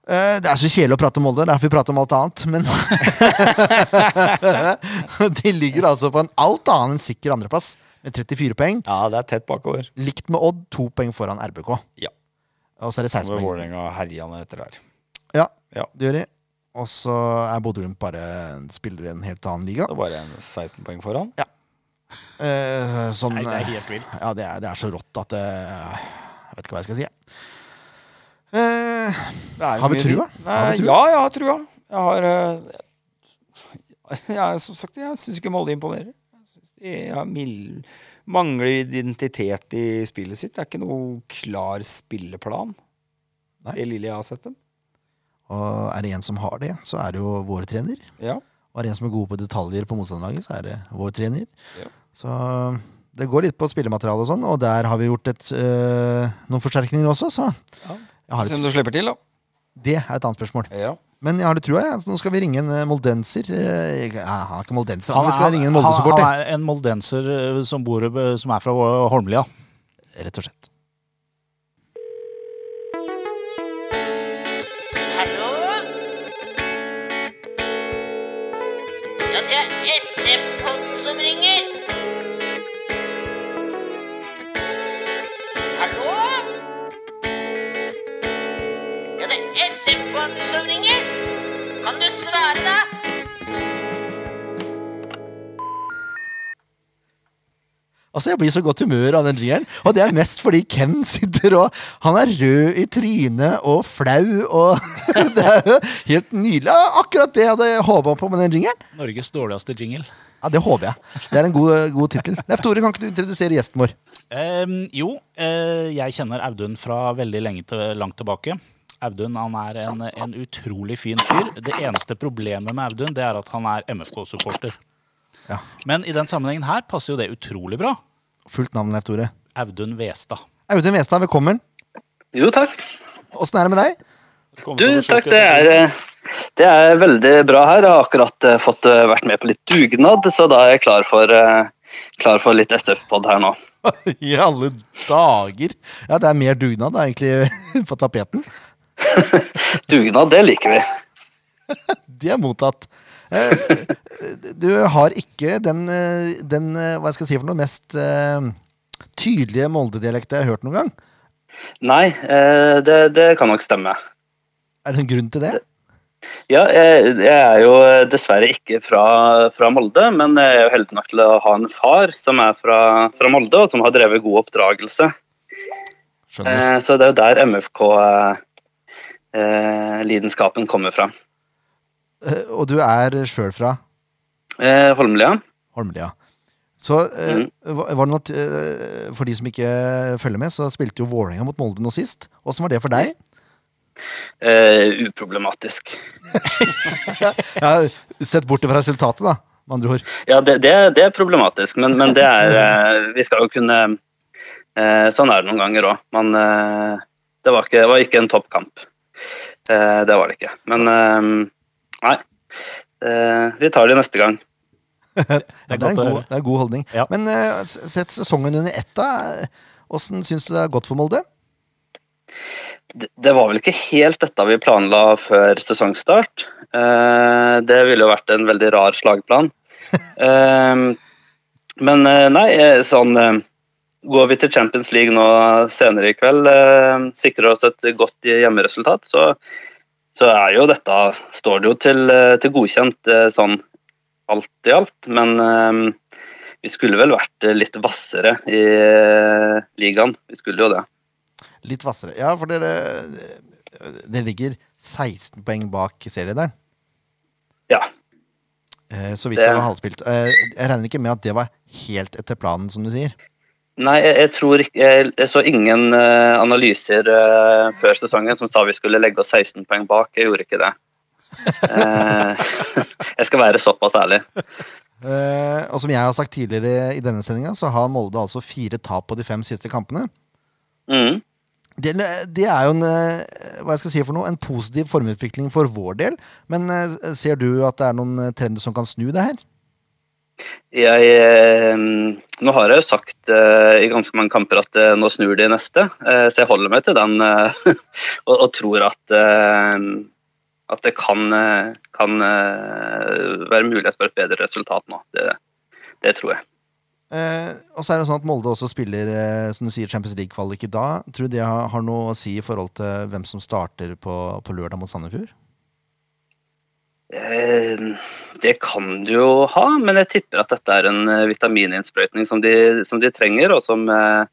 A: Eh, det er så kjedelig å prate om Molde, derfor vi prater om alt annet. Men [LAUGHS] de ligger altså på en alt annet enn sikker andreplass med 34 poeng.
B: ja, det er tett bakover.
A: Likt med Odd, to poeng foran RBK.
B: Ja.
A: Og så er det 16
B: Med
A: poeng.
B: Vålerenga herjende etter der.
A: Ja,
B: Ja.
A: det gjør de. Og så er Bodø Glimt bare en spiller i en helt annen liga.
B: Det er bare en 16 poeng foran.
A: Eh, sånn,
C: Nei, det er helt vilt.
A: Ja, det er, det er så rått at det, Jeg vet ikke hva jeg skal si. jeg. Eh,
B: Det er
A: Har vi
B: så mye
A: trua?
B: dritt.
A: Har vi
B: Nei, Ja, jeg har trua. Jeg har eh, [LAUGHS] jeg, Som sagt, jeg syns ikke Molde imponerer. Jeg synes de har mild, mangler identitet i spillet sitt. Det er ikke noe klar spilleplan,
A: Nei.
B: det lille jeg har sett dem.
A: og er det en som har det, så er det jo vår trener.
B: Ja.
A: Og er det en som er god på detaljer på motstanderlaget, så er det vår trener.
B: Ja.
A: Så det går litt på spillemateriale og sånn, og der har vi gjort et, eh, noen forsterkninger også, så
B: Ja.
A: jeg har
B: Se
A: et,
B: om du slipper til, da.
A: det er et annet spørsmål.
B: Ja.
A: Men jeg har det trua, jeg. Så nå skal vi ringe en eh, moldenser. Eh, jeg- Nei, han er ikke moldenser,
C: Han
A: men vi skal
C: er-
A: ringe en
C: han-
A: Molde-supporter.
C: Han er en moldenser eh, som, bor, eh, som er fra Holmlia.
A: Rett og slett.
E: Hallo? Ja, det er SF-podden som ringer. Hallo? Ja, det er SF-podden som ringer. Kan du svare, da?
A: Altså, Jeg blir så godt humør av den jingeren. Og det er mest fordi Ken sitter og Han er rød i trynet og flau og [LAUGHS] Det er jo helt nydelig. Ja, Akkurat det jeg hadde håpa på med den jingeren.
C: Norges dårligste jingle.
A: Ja, Det håper jeg. Det er en god, god tittel. Leif Tore, kan ikke du introdusere gjesten vår?
C: Ehm, jo, eh, jeg kjenner Audun fra veldig lenge til, langt tilbake. Audun han er en, en utrolig fin fyr. Det eneste problemet med Audun det er at han er MFK-supporter.
A: Ja.
C: Men i den sammenhengen her passer jo det utrolig bra.
A: Fullt navn, Leif Tore.
C: Audun Westad.
A: Audun Westad, velkommen.
F: Jo, takk.
A: Åssen er det med
C: [LAUGHS]
A: deg?
F: Du, takk. Det er, eh, det er veldig bra her. Jeg har akkurat eh, fått eh, vært med på litt dugnad, så da er jeg klar for, eh, klar for litt SF-pod her nå.
A: I alle dager! Ja, det er mer dugnad det er egentlig [LAUGHS] på tapeten.
F: Dugnad, det liker vi.
A: De er mottatt. Eh, Du har ikke den, eh, den eh, hva skal jeg si for noe, mest eh, tydelige Molde-dialekten jeg har hørt noen gang.
F: Nei, eh, det, det kan nok stemme.
A: Er det en grunn til det?
F: Ja, jeg, jeg er jo eh, dessverre ikke fra, fra Molde, men jeg er jo heldig nok til å ha en far som er fra, fra Molde, og som har drevet god oppdragelse.
A: Skjønner.
F: Eh, Så det er jo der MFK-lidenskapen eh, kommer fra.
A: Eh, Og du er sjøl fra
F: Eh, Holmlia?
A: Holmlia. Så eh, hva- var det noe, t- eh, For de som ikke følger med, så spilte jo Vålerenga mot Molde nå sist. Åssen var det for deg?
F: eh, uproblematisk.
A: Ja, sett bort fra resultatet, da. Med andre ord.
F: Ja, det, det, det er problematisk, men, men det er eh, Vi skal jo kunne eh, Sånn er det noen ganger òg. Men eh, det, var ikke, det var ikke en toppkamp. Eh, det var det ikke. Men eh, nei. Eh, vi tar det neste gang.
A: Ja,
C: Det er
A: det, er en
C: godt å
A: god,
C: høre.
A: det er en god holdning.
C: Ja.
A: Men eh, s- sett sesongen under ett, da. Åssen syns du det har gått for Molde?
F: Det, det var vel ikke helt dette vi planla før sesongstart. Eh, det ville jo vært en veldig rar slagplan. Eh, men eh, nei, eh, sånn eh, Går vi til Champions League nå senere i kveld, eh, sikrer oss et godt hjemmeresultat, så, så er jo dette Står det jo til, eh, til godkjent eh, sånn alt i alt, men eh, vi skulle vel vært eh, litt hvassere i eh, ligaen. Vi skulle jo det.
A: Litt hvassere. Ja, for dere eh, Dere ligger 16 poeng bak serielederen.
F: Ja.
A: Eh, Så vidt
F: Det-
A: det var halvspilt. Eh, Jeg regner ikke med at det var helt etter planen, som du sier.
F: Nei, jeg, jeg tror ikke jeg, jeg så ingen eh, analyser eh, før sesongen som sa vi skulle legge oss 16 poeng bak. Jeg gjorde ikke det. Eh, [LAUGHS] jeg skal være såpass ærlig.
A: Eh, Og som jeg har sagt tidligere i denne sendinga, så har Molde altså fire tap på de fem siste kampene.
F: Mm.
A: Det, det er jo en, eh, hva jeg skal si for noe, en positiv formutvikling for vår del. Men eh, ser du at det er noen eh, trender som kan snu det her?
F: Jeg, eh, nå har jeg jo sagt eh, i ganske mange kamper at eh, nå snur de neste, eh, så jeg holder meg til den eh, [LAUGHS] og, og tror at, eh, at det kan, eh, kan eh, være mulighet for et bedre resultat nå. Det, det tror jeg.
A: Eh, og så er det sånn at Molde også spiller eh, som du sier, Champions League-kvalik i dag. Tror du det har, har noe å si i forhold til hvem som starter på, på lørdag mot Sandefjord?
F: Eh, Det kan du jo ha, men jeg tipper at dette er en eh, vitamininnsprøytning som de, som de trenger, og som eh,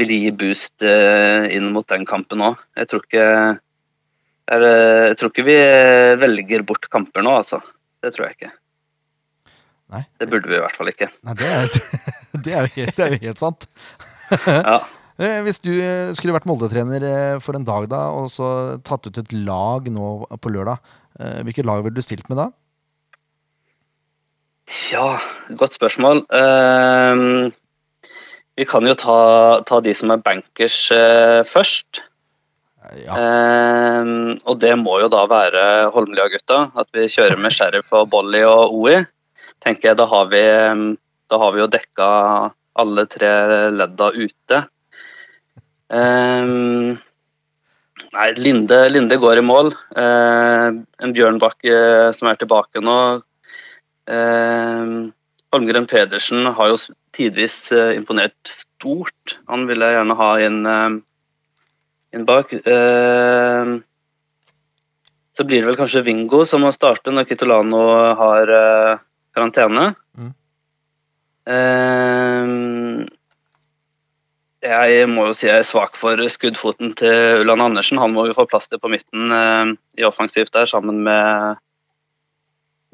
F: vil gi boost eh, inn mot den kampen òg. Jeg, tror ikke- er, eh, jeg tror ikke vi eh, velger bort kamper nå, altså. Det tror jeg ikke.
A: Nei.
F: Det burde vi i hvert fall ikke.
A: Nei, det er, [LAUGHS] det er, jo, helt, det er jo helt sant.
F: Ja.
A: [LAUGHS] Eh, Hvis du eh, skulle vært Molde-trener eh, for en dag da, og så tatt ut et lag nå på lørdag, eh, hvilket lag ville du stilt med da?
F: Ja, godt spørsmål. Ehm, vi kan jo ta, ta de som er bankers eh, først.
A: Eh, Ja.
F: Ehm, og det må jo da være Holmlia-gutta. At vi kjører med Sheriff og Bolly og OI. Tenker jeg, da har vi, ehm, da har vi jo dekka alle tre ledda ute. Ehm, nei, Linde, Linde går i mål. Ehm, en Bjørnbakk eh, som er tilbake nå. Ehm, Holmgren Pedersen har jo tidvis eh, imponert stort. Han ville jeg gjerne ha inn ehm, inn bak. Ehm, så blir det vel kanskje Vingo som må starte når Kitolano har eh, karantene.
A: Mm.
F: Ehm, jeg må jo si jeg er svak for skuddfoten til Ulland Andersen. Han må vi få plass til på midten eh, i offensivt der, sammen med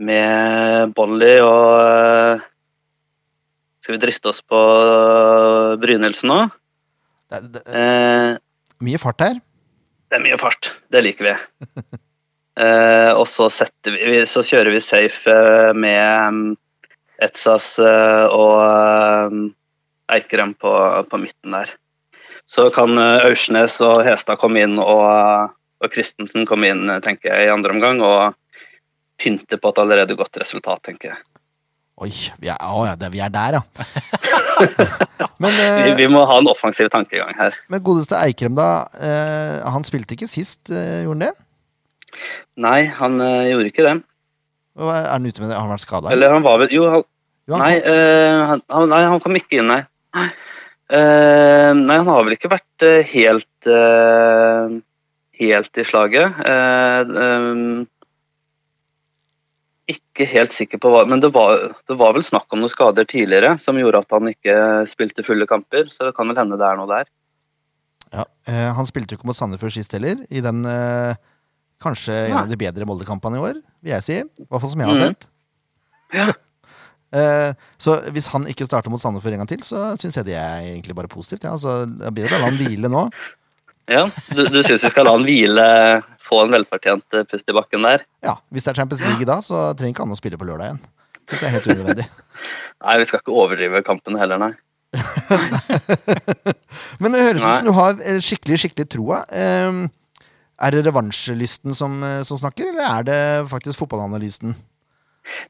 F: med Bolly og eh, Skal vi driste oss på Brynildsen nå?
A: Det er, det er
F: Eh,
A: mye fart her.
F: det er mye fart. Det liker vi. Eh, og så, setter vi, vi- så kjører vi safe eh, med um, Etsas eh, og um, Eikrem på, på midten der. Så kan eh, Aursnes og Hestad komme inn, og, eh, og Christensen komme inn, eh, tenker jeg, i andre omgang. Og pynte på et allerede godt resultat, tenker jeg.
A: Oi, vi er, å, ja, det, vi er der, ja. [LAUGHS] men,
F: [LAUGHS] Vi,
A: eh,
F: vi må ha en offensiv tankegang her.
A: men godeste Eikrem, da. Eh, han spilte ikke sist, eh, gjorde han det?
F: Nei, han eh, gjorde ikke det.
A: Hva- Er han ute med det? Har han vært skada?
F: Eller han var vel Jo, han, nei, eh, han, han- nei, han kom ikke inn, nei. Eh, nei, han har vel ikke vært eh, helt eh, Helt i slaget. Eh, ehm, ikke helt sikker på hva Men det var, det var vel snakk om noen skader tidligere som gjorde at han ikke spilte fulle kamper, så det kan vel hende det er noe der.
A: Ja, eh, han spilte jo ikke mot Sandefjord sist heller, i den eh, kanskje en
F: Nei.
A: av de bedre Molde-kampene i år, vil jeg si. I hvert fall som jeg har
F: Mhm.
A: sett. [LAUGHS] eh, så hvis han ikke starter mot Sandefjord en gang til, så syns jeg det er egentlig bare positivt. Ja. Altså, det er bedre å la han hvile nå.
F: Ja, Du, du syns vi skal la han hvile, få en velfortjent eh, pust i bakken der?
A: Ja, Hvis det er Champions League i dag, så trenger ikke han å spille på lørdag igjen. Synes jeg er helt unødvendig.
F: [LAUGHS] Nei, vi skal ikke overdrive kampen heller, nei.
A: Men det høres ut
F: Nei.
A: som du har eh, skikkelig skikkelig troa. Eh, er det revansjelysten som, eh, som snakker, eller er det faktisk fotballanalysten?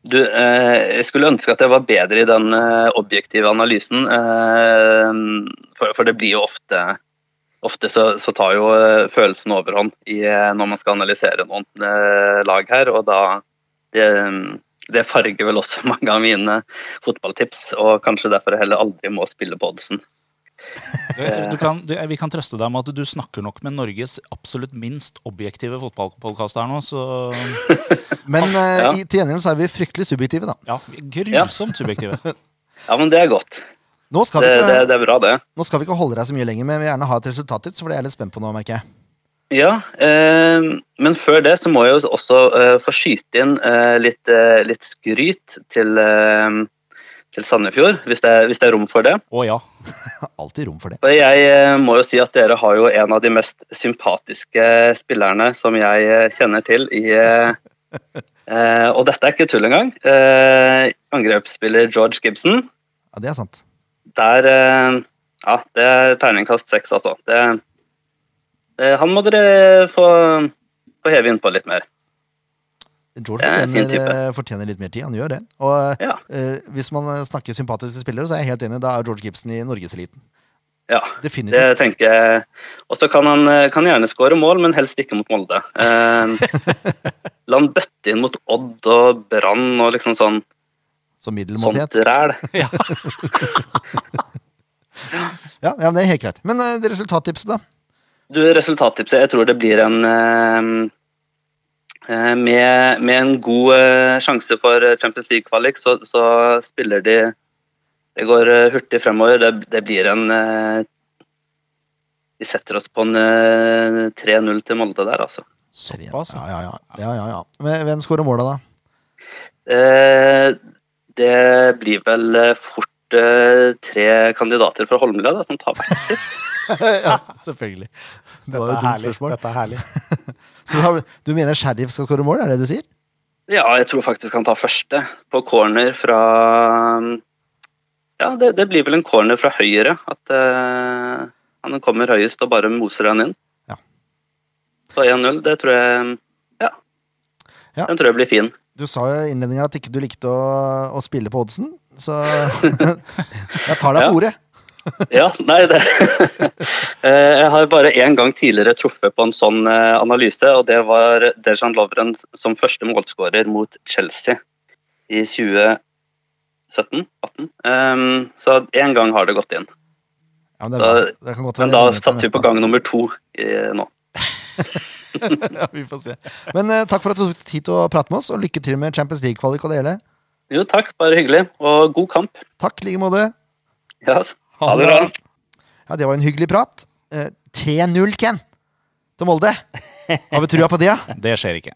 F: Du, eh, jeg skulle ønske at jeg var bedre i den eh, objektive analysen. Eh, for, for det blir jo ofte Ofte så, så tar jo eh, følelsen overhånd i, eh, når man skal analysere noen eh, lag her, og da det, det farger vel også [LAUGHS] mange av mine fotballtips, og kanskje derfor jeg heller aldri må spille på oddsen.
C: Du- Du kan, du, eh, vi kan trøste deg med at du snakker nok med Norges absolutt minst objektive fotballpodkast her nå, så
A: Men eh,
F: Ja.
A: i, til gjengjeld så er vi fryktelig subjektive, da.
C: ja, vi er grusomt subjektive.
F: Ja, men det er godt.
A: Nå skal,
F: Det,
A: vi
F: det,
A: ikke,
F: det er bra, det.
A: nå skal vi ikke holde deg så mye lenger, men jeg vil gjerne ha et resultattips, for det er jeg litt spent på nå, merker jeg.
F: Ja, eh, men før det så må jeg jo også eh, få skyte inn eh, litt, eh, litt skryt til, eh, til Sandefjord, hvis det, er- hvis det er rom for det.
C: Å ja.
A: Det er alltid rom for det.
F: For jeg eh, må jo si at dere har jo en av de mest sympatiske spillerne som jeg eh, kjenner til i eh, eh, Og dette er ikke tull engang. Eh, angrepsspiller George Gibson.
A: Ja, det er sant.
F: Der eh, Ja, det er terningkast seks, altså. Det, Eh, Han må dere få, få heve innpå litt mer.
A: George
F: Det er en fin
A: fortjener,
F: type.
A: eh, fortjener litt mer tid. Han gjør det. Og
F: Ja.
A: eh, hvis man eh, snakker sympatiske spillere, så er jeg helt enig. Da er George Gibson i norgeseliten.
F: Ja, det
A: Definitivt.
F: tenker jeg. Og så kan han eh, kan gjerne skåre mål, men helst ikke mot Molde. Eh, La han bøtte inn mot Odd og Brann og liksom sånn,
A: Som
F: sånt
A: middelmådighet.
F: ræl.
A: Ja, ja, men det er helt greit. Men eh, det resultattipset, da?
F: Du, resultattipset, jeg tror det blir en eh, eh, med, med en god eh, sjanse for eh, Champions League-kvalik, så, så spiller de Det går eh, hurtig fremover. Det, det blir en eh, Vi setter oss på en eh, 3-0 til Molde der, altså.
C: Såpass,
A: ja.
C: ja.
A: Ja, ja, ja. ja, ja. Men Hvem skårer måla, da? [LAUGHS]
F: Eh, det blir vel eh, fort eh, tre kandidater fra Holmlia da, som tar hvert sitt.
A: ja, selvfølgelig. Det
G: Dette
A: var jo et
G: er
A: dumt
G: herlig.
A: spørsmål.
G: Dette er herlig.
A: Så da- du mener Sheriff skal skåre mål, er det det du sier?
F: Ja, jeg tror faktisk han tar første på corner fra Ja, det, det blir vel en corner fra høyre. At eh, han kommer høyest og bare moser han inn.
A: Ja.
F: Så 1-0, det tror jeg ja,
A: Ja.
F: Den tror jeg blir fin.
A: Du sa jo i innledningen at ikke du likte å, å spille på oddsen, så [LAUGHS] jeg tar deg
F: Ja.
A: på ordet.
F: Ja, nei, det [LAUGHS] Eh, Jeg har bare én gang tidligere truffet på en sånn eh, analyse, og det var Dejan Lovren som første målskårer mot Chelsea i 2017-18. Ehm, Så én gang har det gått inn.
A: Ja, men det, er bra.
F: Da-
A: det kan godt
F: Men
A: være
F: da
A: det er
F: satser vi på
A: neste.
F: gang nummer to eh, nå.
A: [LAUGHS] Ja, vi får se. Men eh, takk for at du tok deg tid til å prate med oss, og lykke til med Champions League-kvalik og det hele.
F: Jo, takk. Bare hyggelig. Og god kamp.
A: Takk i like måte.
F: Ja, altså. ha det bra.
A: Ja, det var en hyggelig prat. Eh, 3-0, Ken, til Molde. Har vi trua på det, ja?
C: Det skjer ikke.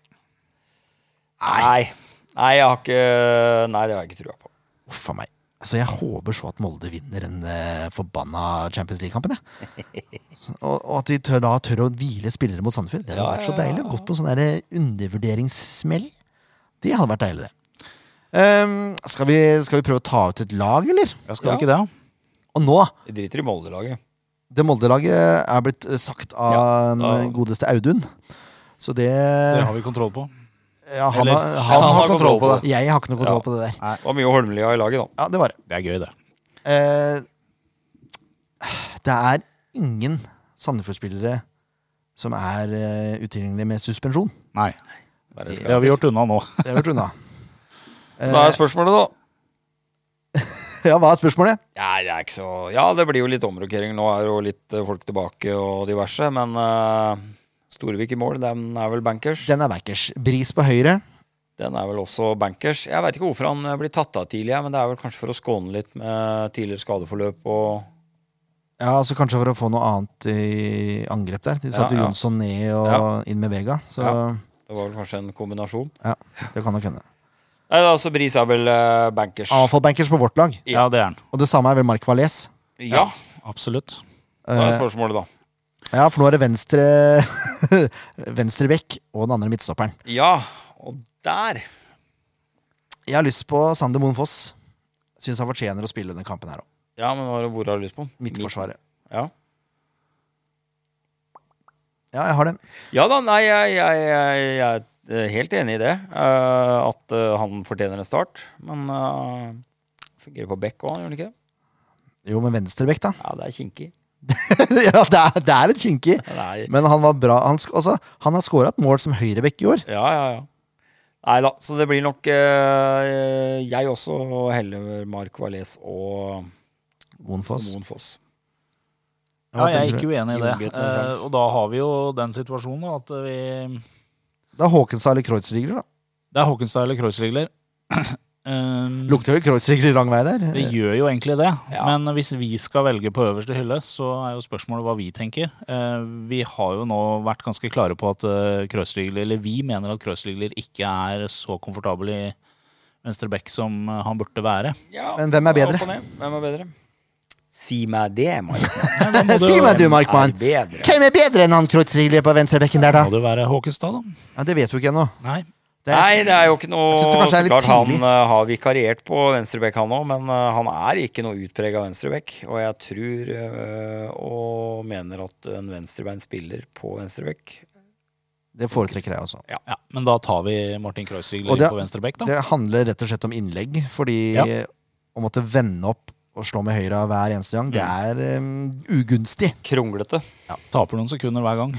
B: Nei. Nei, jeg har ikke Nei, det har jeg ikke trua på.
A: Uff a meg. Altså, jeg håper så at Molde vinner den eh, forbanna Champions League-kampen. jeg.
B: [LAUGHS]
A: Og, og at de tør, da tør å hvile spillere mot Sandefjord. Det hadde
B: Ja,
A: vært så
B: ja, ja,
A: deilig. Gått på en sånn der undervurderingssmell. Det hadde vært deilig, det. Ehm, skal, vi, skal vi prøve å ta ut et lag, eller?
C: Ja, skal
B: Ja.
C: vi ikke det? da?
A: Og nå,
B: Jeg driter i Molde-laget.
A: det Molde-laget er blitt eh, sagt av
B: da-
A: eh, godeste Audun. Så det,
C: Det har vi kontroll på.
A: ja, Eh. han,
C: Eller-
A: har, han,
B: han har kontroll på
A: Jeg har ikke noe kontroll
B: Ja.
A: på det der.
B: Det var mye Holmlia i laget, da.
A: Ja, det var det.
C: Det er gøy, det.
A: Eh, det er ingen Sandefjord-spillere som er eh, utilgjengelige med suspensjon.
C: Nei,
B: Bare
C: det har
B: skal-
C: vi gjort unna nå.
A: Det har vært unna. Eh,
B: Da er spørsmålet, da.
A: [LAUGHS] ja, hva er spørsmålet?
B: Nei, det er ikke så Ja, det blir jo litt omrokering. Nå er jo litt eh, folk tilbake og diverse, men eh, Storevik i mål, den er vel bankers.
A: Den er backers. Bris på høyre.
B: Den er vel også bankers. Jeg veit ikke hvorfor han eh, blir tatt av tidlig, ja, men det er vel kanskje for å skåne litt med tidligere skadeforløp og
A: Ja, altså Kanskje for å få noe annet i angrep der. De satte
B: Ja, ja.
A: Jonsson ned og
B: Ja.
A: inn med Vega, så
B: Ja. Det var vel kanskje en kombinasjon.
A: det kan nok hende.
B: Nei, altså Bris er vel eh, bankers.
A: Iallfall bankers på vårt lag.
C: Ja,
B: Ja.
C: det er den.
A: Og det samme er vel Mark Valles.
B: Ja,
C: Absolutt.
B: da
A: Eh,
B: er spørsmålet, da.
A: ja, for nå er det venstre Venstre [LAUGHS] bekk og den andre midtstopperen.
B: Ja, og der
A: Jeg har lyst på Sander Moen Foss. Syns han fortjener å spille denne kampen her òg.
B: Ja, men hva- hvor har du lyst på? den?
A: Midtforsvaret.
B: Ja.
A: Ja, jeg har det.
B: ja da, nei, jeg, jeg, jeg, jeg er helt enig i det. eh, at eh, han fortjener en start. Men eh, fungerer på bekk òg, gjør han ikke det?
A: Jo, men venstrebekk, da. [LAUGHS]
B: Ja, det er kinkig.
A: ja, det er, det er litt kinkig.
B: Ja, det er-
A: Men han var bra. Han, sk- altså, han har scora et mål som høyrebekk i år.
B: Ja, ja, ja. Nei da, så det blir nok eh, jeg også og heller Mark Valles og
A: Moen Foss.
B: Moen Foss.
A: Ja,
C: Ja,
A: hva
C: jeg er
A: tenker
C: ikke uenig i det.
B: Junget med
C: Eh,
B: sjans.
C: og da har vi jo den situasjonen da, at vi
A: Det er Håkenstad eller Kreuzrigler, da.
C: Det er Håkenstad eller Kreuzrigler. [CLEARS THROAT] Um,
A: Lukter vel Kreuzrigler lang vei der.
C: Det gjør jo egentlig det,
B: Ja.
C: men hvis vi skal velge på øverste hylle, så er jo spørsmålet hva vi tenker. Eh, vi har jo nå vært ganske klare på at eh, Kreuzrigler, eller vi mener at Kreuzrigler ikke er så komfortabel i venstre back som eh, han burde være.
B: Ja,
A: Men hvem er bedre?
B: opp og ned. Hvem er bedre? Si meg det, [LAUGHS] Mark.
A: [LAUGHS] si meg, du, Markmann.
B: Hvem er bedre?
A: Hvem er bedre enn han Kreuzrigler på venstrebekken der,
C: Må
A: da?
C: det være Håkenstad, da?
A: Ja, det vet vi ikke ennå.
C: Nei.
A: Det er-
B: Nei, det er jo ikke noe
A: Jeg synes det kanskje er
B: Så
A: litt
B: klart han
A: tidlig.
B: eh, har vikariert på venstrebekk, han òg, men eh, han er ikke noe utprega venstrebekk. Og jeg tror eh, og mener at en venstrebeint spiller på venstrebekk.
A: Det foretrekker jeg også.
C: Ja, men da tar vi Martin Kreuzrigler
A: Og det-
C: inn på venstre bekk, da.
A: Det handler rett og slett om innlegg. Fordi
C: Ja.
A: å måtte vende opp og slå med høyre hver eneste gang, det
B: Mm.
A: er um, ugunstig.
B: Kronglete.
C: Taper noen sekunder hver gang.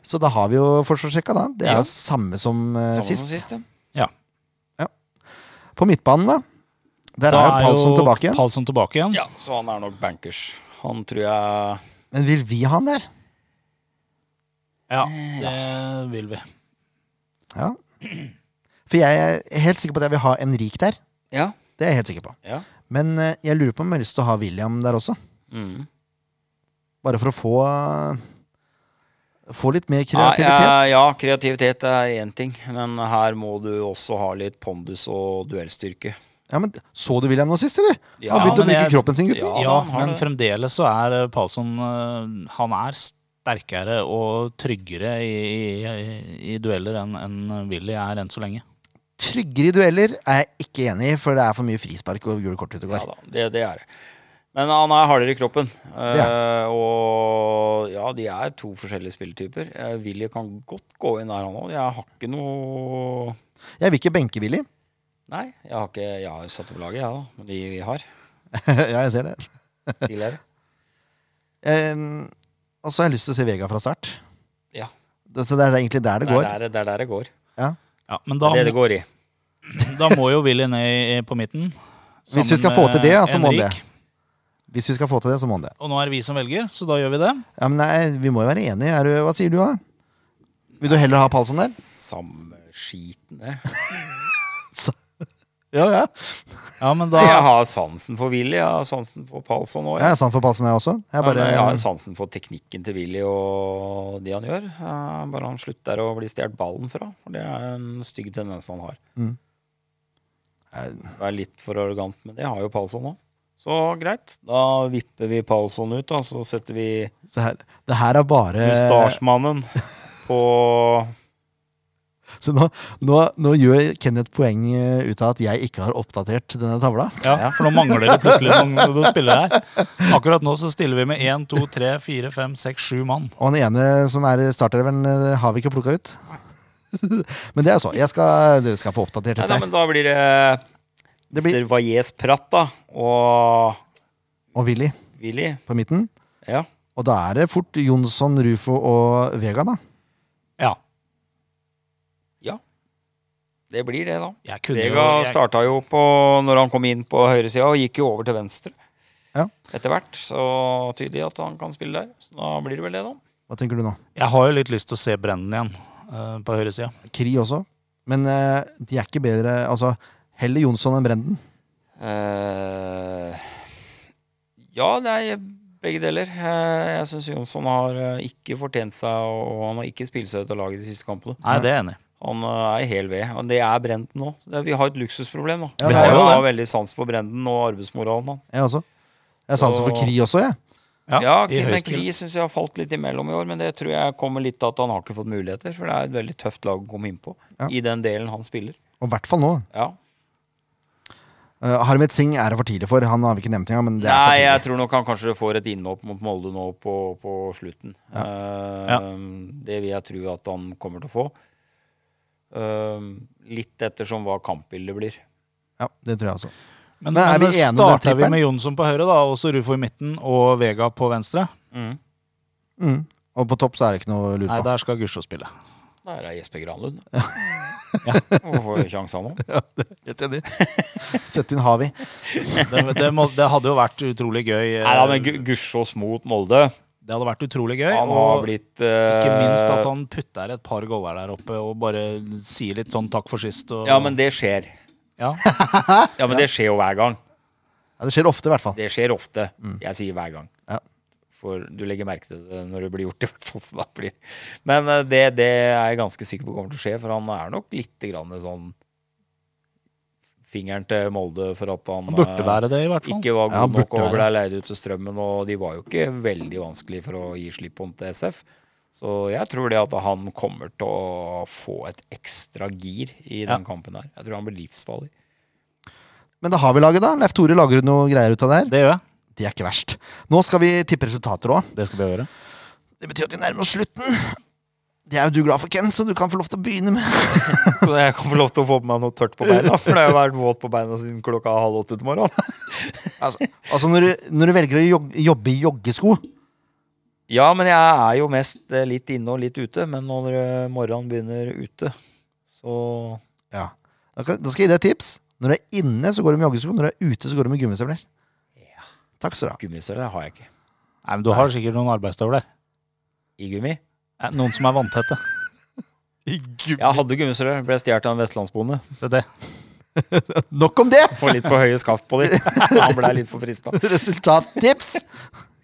A: Så da har vi jo forsvarssjekka, da. Det er
B: Ja.
A: jo samme som eh,
B: Samme
A: sist.
B: som sist. ja.
A: På midtbanen, da. Der er jo Palsson tilbake igjen.
C: Palsson tilbake igjen.
B: Ja, så han er nok bankers. Han tror jeg
A: Men vil vi ha han der?
C: Ja,
A: Eh,
C: det vil vi.
A: Ja. [CLEARS THROAT] For jeg er helt sikker på at jeg vil ha Henrik der.
B: Ja.
A: Det er jeg helt sikker på.
B: ja.
A: Men eh, jeg lurer på om jeg har lyst til å ha William der også.
B: Mm.
A: Bare for å få Få litt mer
B: Nei, eh,
A: kreativitet.
B: ja, kreativitet er én ting, men her må du også ha litt pondus og duellstyrke.
A: Ja, men Så du William nå sist, eller?
B: Ja,
A: han har begynt å
C: men
A: bruke
C: jeg-
A: kroppen sin, gutten.
B: Ja,
C: Ja,
B: han har
C: men
B: det.
C: fremdeles så er eh, Palsson eh, Han er sterkere og tryggere i, i, i dueller enn enn Willy er enn så lenge.
A: Tryggere i dueller er jeg ikke enig i, for det er for mye frispark og gule kort ute og
B: Ja
A: går.
B: da, det, det er det. Men han er hardere i kroppen. eh,
A: Det er
B: og ja, de er to forskjellige spilletyper. Eh, Willy kan godt gå inn der, han òg. Jeg har ikke noe
A: Jeg vil ikke benke Willy. [LAUGHS]
B: Nei, jeg har ikke Jeg har satt opp laget, jeg, da. Men de vi har
A: ja, jeg ser det.
B: tidligere.
A: [LAUGHS] Ehm, og så har jeg lyst til å se Vega fra start.
B: Ja.
A: Det, så det er egentlig der det
B: Det er
A: går.
B: der det, er der det går.
C: Ja, men
B: Det
C: da,
B: er det det går i.
C: da må jo Willy ned i- på midten.
A: Hvis vi
C: sammen
A: skal få til
C: med
A: det, ja, så må
C: Henrik.
A: han det. Hvis vi skal få til det, så må han det.
C: Og nå er det vi som velger, så da gjør vi det.
A: Ja, men nei, Vi må jo være enige. Er du, hva sier du, da? Vil du heller ha Palsson der?
B: Samme skiten, det.
A: Ja, ja.
C: Ja, men
B: Jeg
C: da
B: har sansen for Willy. Jeg har sansen for Palsson òg.
A: Jeg er sann for Palsson, jeg også. Jeg bare,
B: eh, jeg har sansen for teknikken til Willy og det han gjør. Eh, Bare han slutter å bli stjålet ballen fra. For det er en stygg tendens han har.
A: Mm. jeg,
B: Vær litt for arrogant, men det har jo Palsson òg. Så greit. Da vipper vi Palsson ut, da. Så setter vi
A: se her. Det her er bare
B: Mustasjmannen på
A: [LAUGHS] Så nå, nå, nå gjør Kenneth poeng eh, ut av at jeg ikke har oppdatert denne tavla.
C: ja, For nå mangler det plutselig noen noen spillere her. Akkurat nå så stiller vi med én, to, tre, fire, fem, seks, sju mann.
A: Og den ene som er i startereleveren, eh, har vi ikke plukka ut. [LAUGHS] men det er så. Jeg skal, dere skal få oppdatert
B: Nei, nei,
A: dette. her.
B: men da blir det,
A: Det blir
B: Mr. Valles Pratt, da. Og
A: Og Willy
B: Willy.
A: på midten.
B: Ja.
A: Og da er det fort Jonsson, Rufo og Vega, da.
C: Ja,
B: Det blir det, da.
C: jeg kunne
B: Vega
C: jo jeg,
B: starta jo på, når han kom inn på høyresida, og gikk jo over til venstre.
A: Ja.
B: Etter hvert, så tydelig at han kan spille der. Så da blir det vel det, da.
A: Hva tenker du nå?
C: jeg har jo litt lyst til å se Brennen igjen eh, på høyresida.
A: Kri også. Men eh, de er ikke bedre Altså, heller Jonsson enn Brenden.
B: Eh, ja, det er begge deler. Eh, jeg syns Jonsson har eh, ikke fortjent seg, og han har ikke spilt seg ut av laget de siste kampene.
C: Nei, det er jeg enig i.
B: Han eh, er hel ved, og det er Brenden nå. Det er- Vi har et luksusproblem, da.
A: Ja,
B: vi
A: det
B: har
A: er
B: jo
A: jo
B: har veldig sans for Brenden og arbeidsmoralen hans.
A: Jeg også. Jeg har sansen for
B: Og-
A: Kri også, jeg.
B: Ja,
C: i
B: Kim
C: høyeste grad.
B: Kri syns jeg har falt litt imellom i år, men det tror jeg kommer litt av at han har ikke fått muligheter. For det er et veldig tøft lag å komme inn på
A: Ja.
B: i den delen han spiller.
A: Og i hvert fall nå.
B: Ja.
A: Uh, Harmet Singh er det for tidlig for. Han har vi ikke nevnt engang. Men det er for
B: Nei,
A: tidlig.
B: jeg tror nok han kanskje får et innhopp mot Molde nå på, på slutten. Eh,
C: Ja.
B: Det vil jeg tro at han kommer til å få. Eh, litt ettersom hva kampbildet blir.
A: Ja, det tror jeg også.
C: Men,
A: Men er
C: men
A: vi
C: da
A: enige om den
C: starter vi
A: trippelen?
C: med Jonsson på høyre, da, og så Rufo i midten og Vega på venstre.
A: Mm. Og på topp så er det ikke noe å
C: Nei,
A: lure på.
C: der skal Gusjå spille.
B: Der er Jesper
C: [LAUGHS]
B: Granlund. Og får sjansen nå.
A: Helt enig. [LAUGHS] Sett inn Havi.
C: Det, det, må, det hadde jo vært utrolig gøy. eh,
B: Nei da, men Gu- Gussiås mot Molde.
C: Det hadde vært utrolig gøy.
B: Han har
C: og
B: blitt
C: ikke
B: eh,
C: minst at han putter et par goller der oppe og bare sier litt sånn takk for sist. Og,
B: Ja, men det skjer.
C: Ja.
B: Ja, men det skjer jo hver gang.
A: Ja, det skjer ofte, i hvert fall.
B: Det skjer ofte.
C: Mm.
B: Jeg sier hver gang.
A: Ja.
B: For du legger merke til det når det blir gjort. i hvert fall så da blir. Men eh, det, det er jeg ganske sikker på kommer til å skje, for han er nok litt grann sånn Fingeren til Molde for at han
C: Han burde
B: eh,
C: være det, i hvert fall.
B: ikke var
A: Ja, han
B: god nok
A: burde være
B: og ble leid ut til strømmen. Og de var jo ikke veldig vanskelig for å gi slipp om til SF. Så jeg tror det at han kommer til å få et ekstra gir i den kampen her. Jeg tror han blir livsfarlig.
A: Men da har vi laget, da. Leif Tore lager noe greier ut av det her.
C: Det gjør jeg.
A: Det er ikke verst. Nå skal vi tippe resultater òg.
C: Det skal vi gjøre.
A: Det betyr at vi nærmer oss slutten. Det er jo du glad for, Ken, så du kan få lov til å begynne med.
B: Så jeg kan få lov til å få på meg noe tørt på beina, for det har vært våt på beina siden klokka halv åtte til morgenen.
A: Altså, altså når, du, når du velger å jog- jobbe i joggesko
B: Ja, men jeg er jo mest eh, litt inne og litt ute, men når eh, morgenen begynner ute, så
A: ja. da, kan, da skal jeg gi deg et tips. Når du er inne, så går du med joggesko. Når du er ute, så går du med gummistøvler.
B: Ja.
A: Takk skal du ha.
B: Gummistøvler har jeg ikke.
C: Nei, men Du har sikkert noen arbeidsstøvler.
B: I gummi.
C: Eh, Noen som er vanntette.
B: Jeg hadde gummistøvler, ble stjålet av en vestlandsbonde.
C: Se det.
A: Nok om det!
B: Får litt for høye skaft på de. Han blei litt for frista.
A: Resultattips!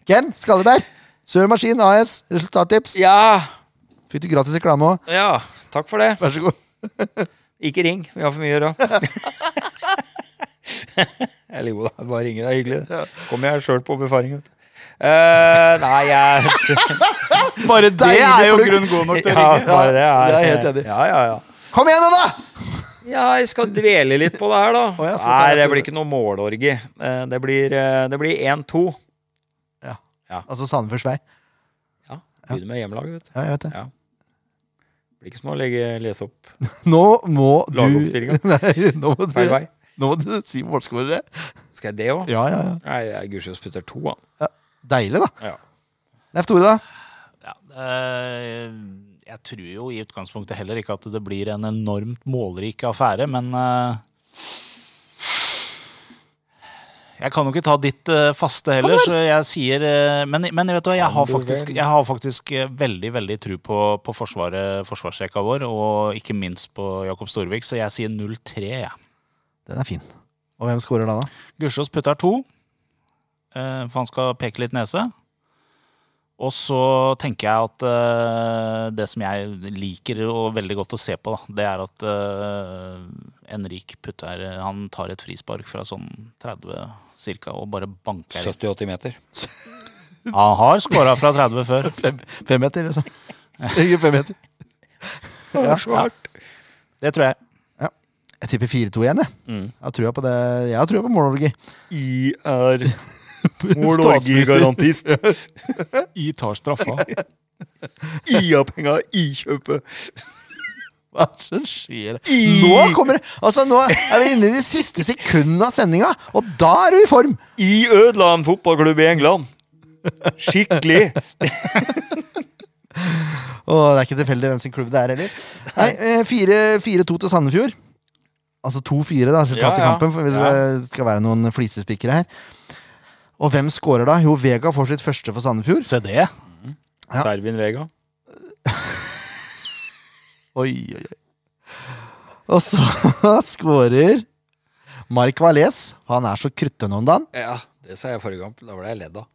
A: Ken Skalleberg, Sør Maskin AS, resultattips.
B: Ja,
A: Fikk du gratis reklame òg?
B: ja. Takk for det.
A: Vær så god.
B: Ikke ring, vi har for mye å gjøre. [LAUGHS] Eller jo da, bare ringe. Det er hyggelig. det. Kommer jeg sjøl på befaring. Vet du. Eh, nei, jeg
C: Bare det
A: Deilig
C: er jo
A: plugg.
C: grunn god nok til å
B: ja,
C: ringe.
B: bare det
A: det
B: er,
A: er jeg helt enig i.
B: Ja, ja, ja.
A: Kom igjen, nå, da!
B: ja, jeg skal dvele litt på det her, da.
A: Å, ja, skal vi ta
B: nei,
A: det
B: det
A: til-
B: blir ikke noe målorgie. Eh, det blir, eh, det blir 1-2.
A: Altså Sandefjords vei.
B: Ja, Begynner med hjemmelaget, vet du.
A: Ja, jeg vet det.
B: Ja. Blir ikke som å legge, lese opp
A: Nå må du
B: Lagoppstillinga.
A: [LAUGHS] Nei, nå må du,
B: feil vei.
A: nå må du si målskårere.
B: Skal jeg det òg?
A: Ja, ja, ja.
B: Nei, jeg gudskjelov putter to, da.
A: Deilig, da.
B: Ja.
A: Leif Tore, da?
C: Ja, eh, jeg tror jo i utgangspunktet heller ikke at det blir en enormt målrik affære, men eh, Jeg kan jo ikke ta ditt eh, faste heller, så jeg sier eh, Men, men vet du, hva, jeg har faktisk, jeg har faktisk eh, veldig veldig tro på, på forsvaret, forsvarsrekka vår, og ikke minst på Jakob Storvik, så jeg sier 0-3, jeg.
A: Den er fin. Og hvem skårer da, da?
C: Gussiås putter to, eh, for han skal peke litt nese. Og så tenker jeg at eh, det som jeg liker og veldig godt å se på, da, det er at eh, Enrik putter Han tar et frispark fra sånn 30 cirka, og bare banker inn.
B: 70-80 meter.
C: Han har scora fra 30 før.
A: Fem, fem meter,
B: [LAUGHS]
A: liksom. Ikke fem meter.
B: Ja. Svart.
C: Det tror jeg.
A: Jeg tipper 4-2 igjen, jeg.
B: Mm.
A: Jeg har trua på det. Jeg har trua på målorgi.
B: I [LAUGHS] er
A: Statsminister.
B: målorgigarantist.
C: I tar straffa.
B: I har penga, i kjøpet.
A: Hva er det som skjer? [LAUGHS] Nå kommer det Altså, nå er vi inne i de siste sekundene av sendinga, og da er du i form!
B: I ødela en fotballklubb i England. Skikkelig.
A: Og det er ikke tilfeldig hvem sin klubb det er heller. Nei, eh, fire- 4-2 til Sandefjord. Altså 2-4, da, resultatet
B: Ja,
A: i
B: ja.
A: kampen, for hvis det skal være noen flisespikkere her. Og hvem scorer da? Jo, Vega får sitt første for Sandefjord.
C: [LAUGHS] Se det.
A: Ja.
B: Servin Vega.
A: Oi, oi, oi. Og så [LAUGHS] scorer Mark Valais. Han er så krutten om dagen.
B: Ja, det sa jeg forrige kamp. Da ble jeg ledd av.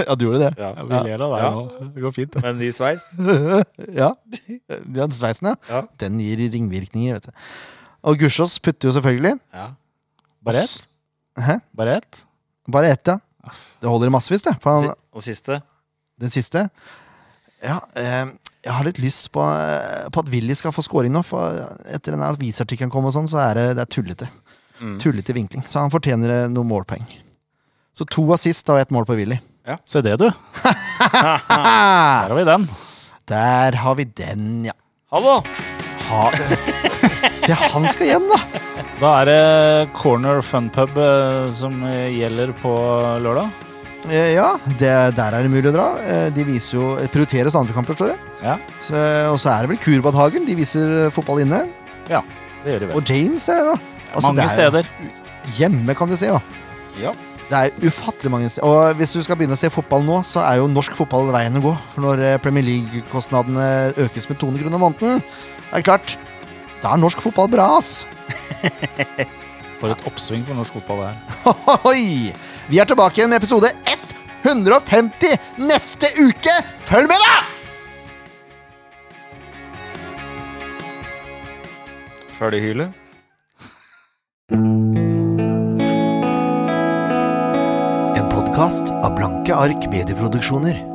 A: Ja, du gjorde det.
B: Ja.
C: ler av
B: deg
C: nå. Det går fint.
B: Men ny sveis.
A: [LAUGHS] Ja, Den sveisen, ja.
B: Ja.
A: Den gir ringvirkninger, vet du. Og Gussiås putter jo selvfølgelig.
B: Ja.
C: Barrett?
A: Hæ?
C: Barrett?
A: Bare ett, ja. Det holder i massevis, det. For han,
B: Og siste.
A: den siste. Ja, eh, jeg har litt lyst på, eh, på at Willy skal få scoring nå, for etter den her avisartikkelen kom, og sånn, så er det, det er tullete. Tullete vinkling. Så han fortjener eh, noen målpoeng. Så to assist og ett mål på Willy.
C: Se det, [LAUGHS] du. Der har vi den.
A: Der har vi den, ja.
B: Hallo!
A: Ha, [LAUGHS] se, han skal hjem, da!
C: Da er det Corner Fun Pub eh, som eh, gjelder på lørdag.
A: Eh, ja, det, der er det mulig å dra. Eh, de viser jo prioriterer Sandefjord-kamper, står det.
C: Ja,
A: Så, og så er det vel Kurbadhagen. De viser eh, fotball inne.
C: det gjør de vel.
A: Og James er det, da. Altså,
C: Mange
A: det er jo-
C: steder.
A: Hjemme kan du se, da.
B: Ja.
A: Det er ufattelig mange steder. Og hvis du skal begynne å se fotball nå, så er jo norsk fotball veien å gå. For når eh, Premier League-kostnadene økes med 200 kroner måneden, er det klart Da er norsk fotball bra, ass!
C: For et oppsving for norsk fotball det er.
A: Hoi! Vi er tilbake igjen med episode 150 neste uke! Følg med, da!
B: Ferdig hyle.
A: En podkast av Blanke ark medieproduksjoner.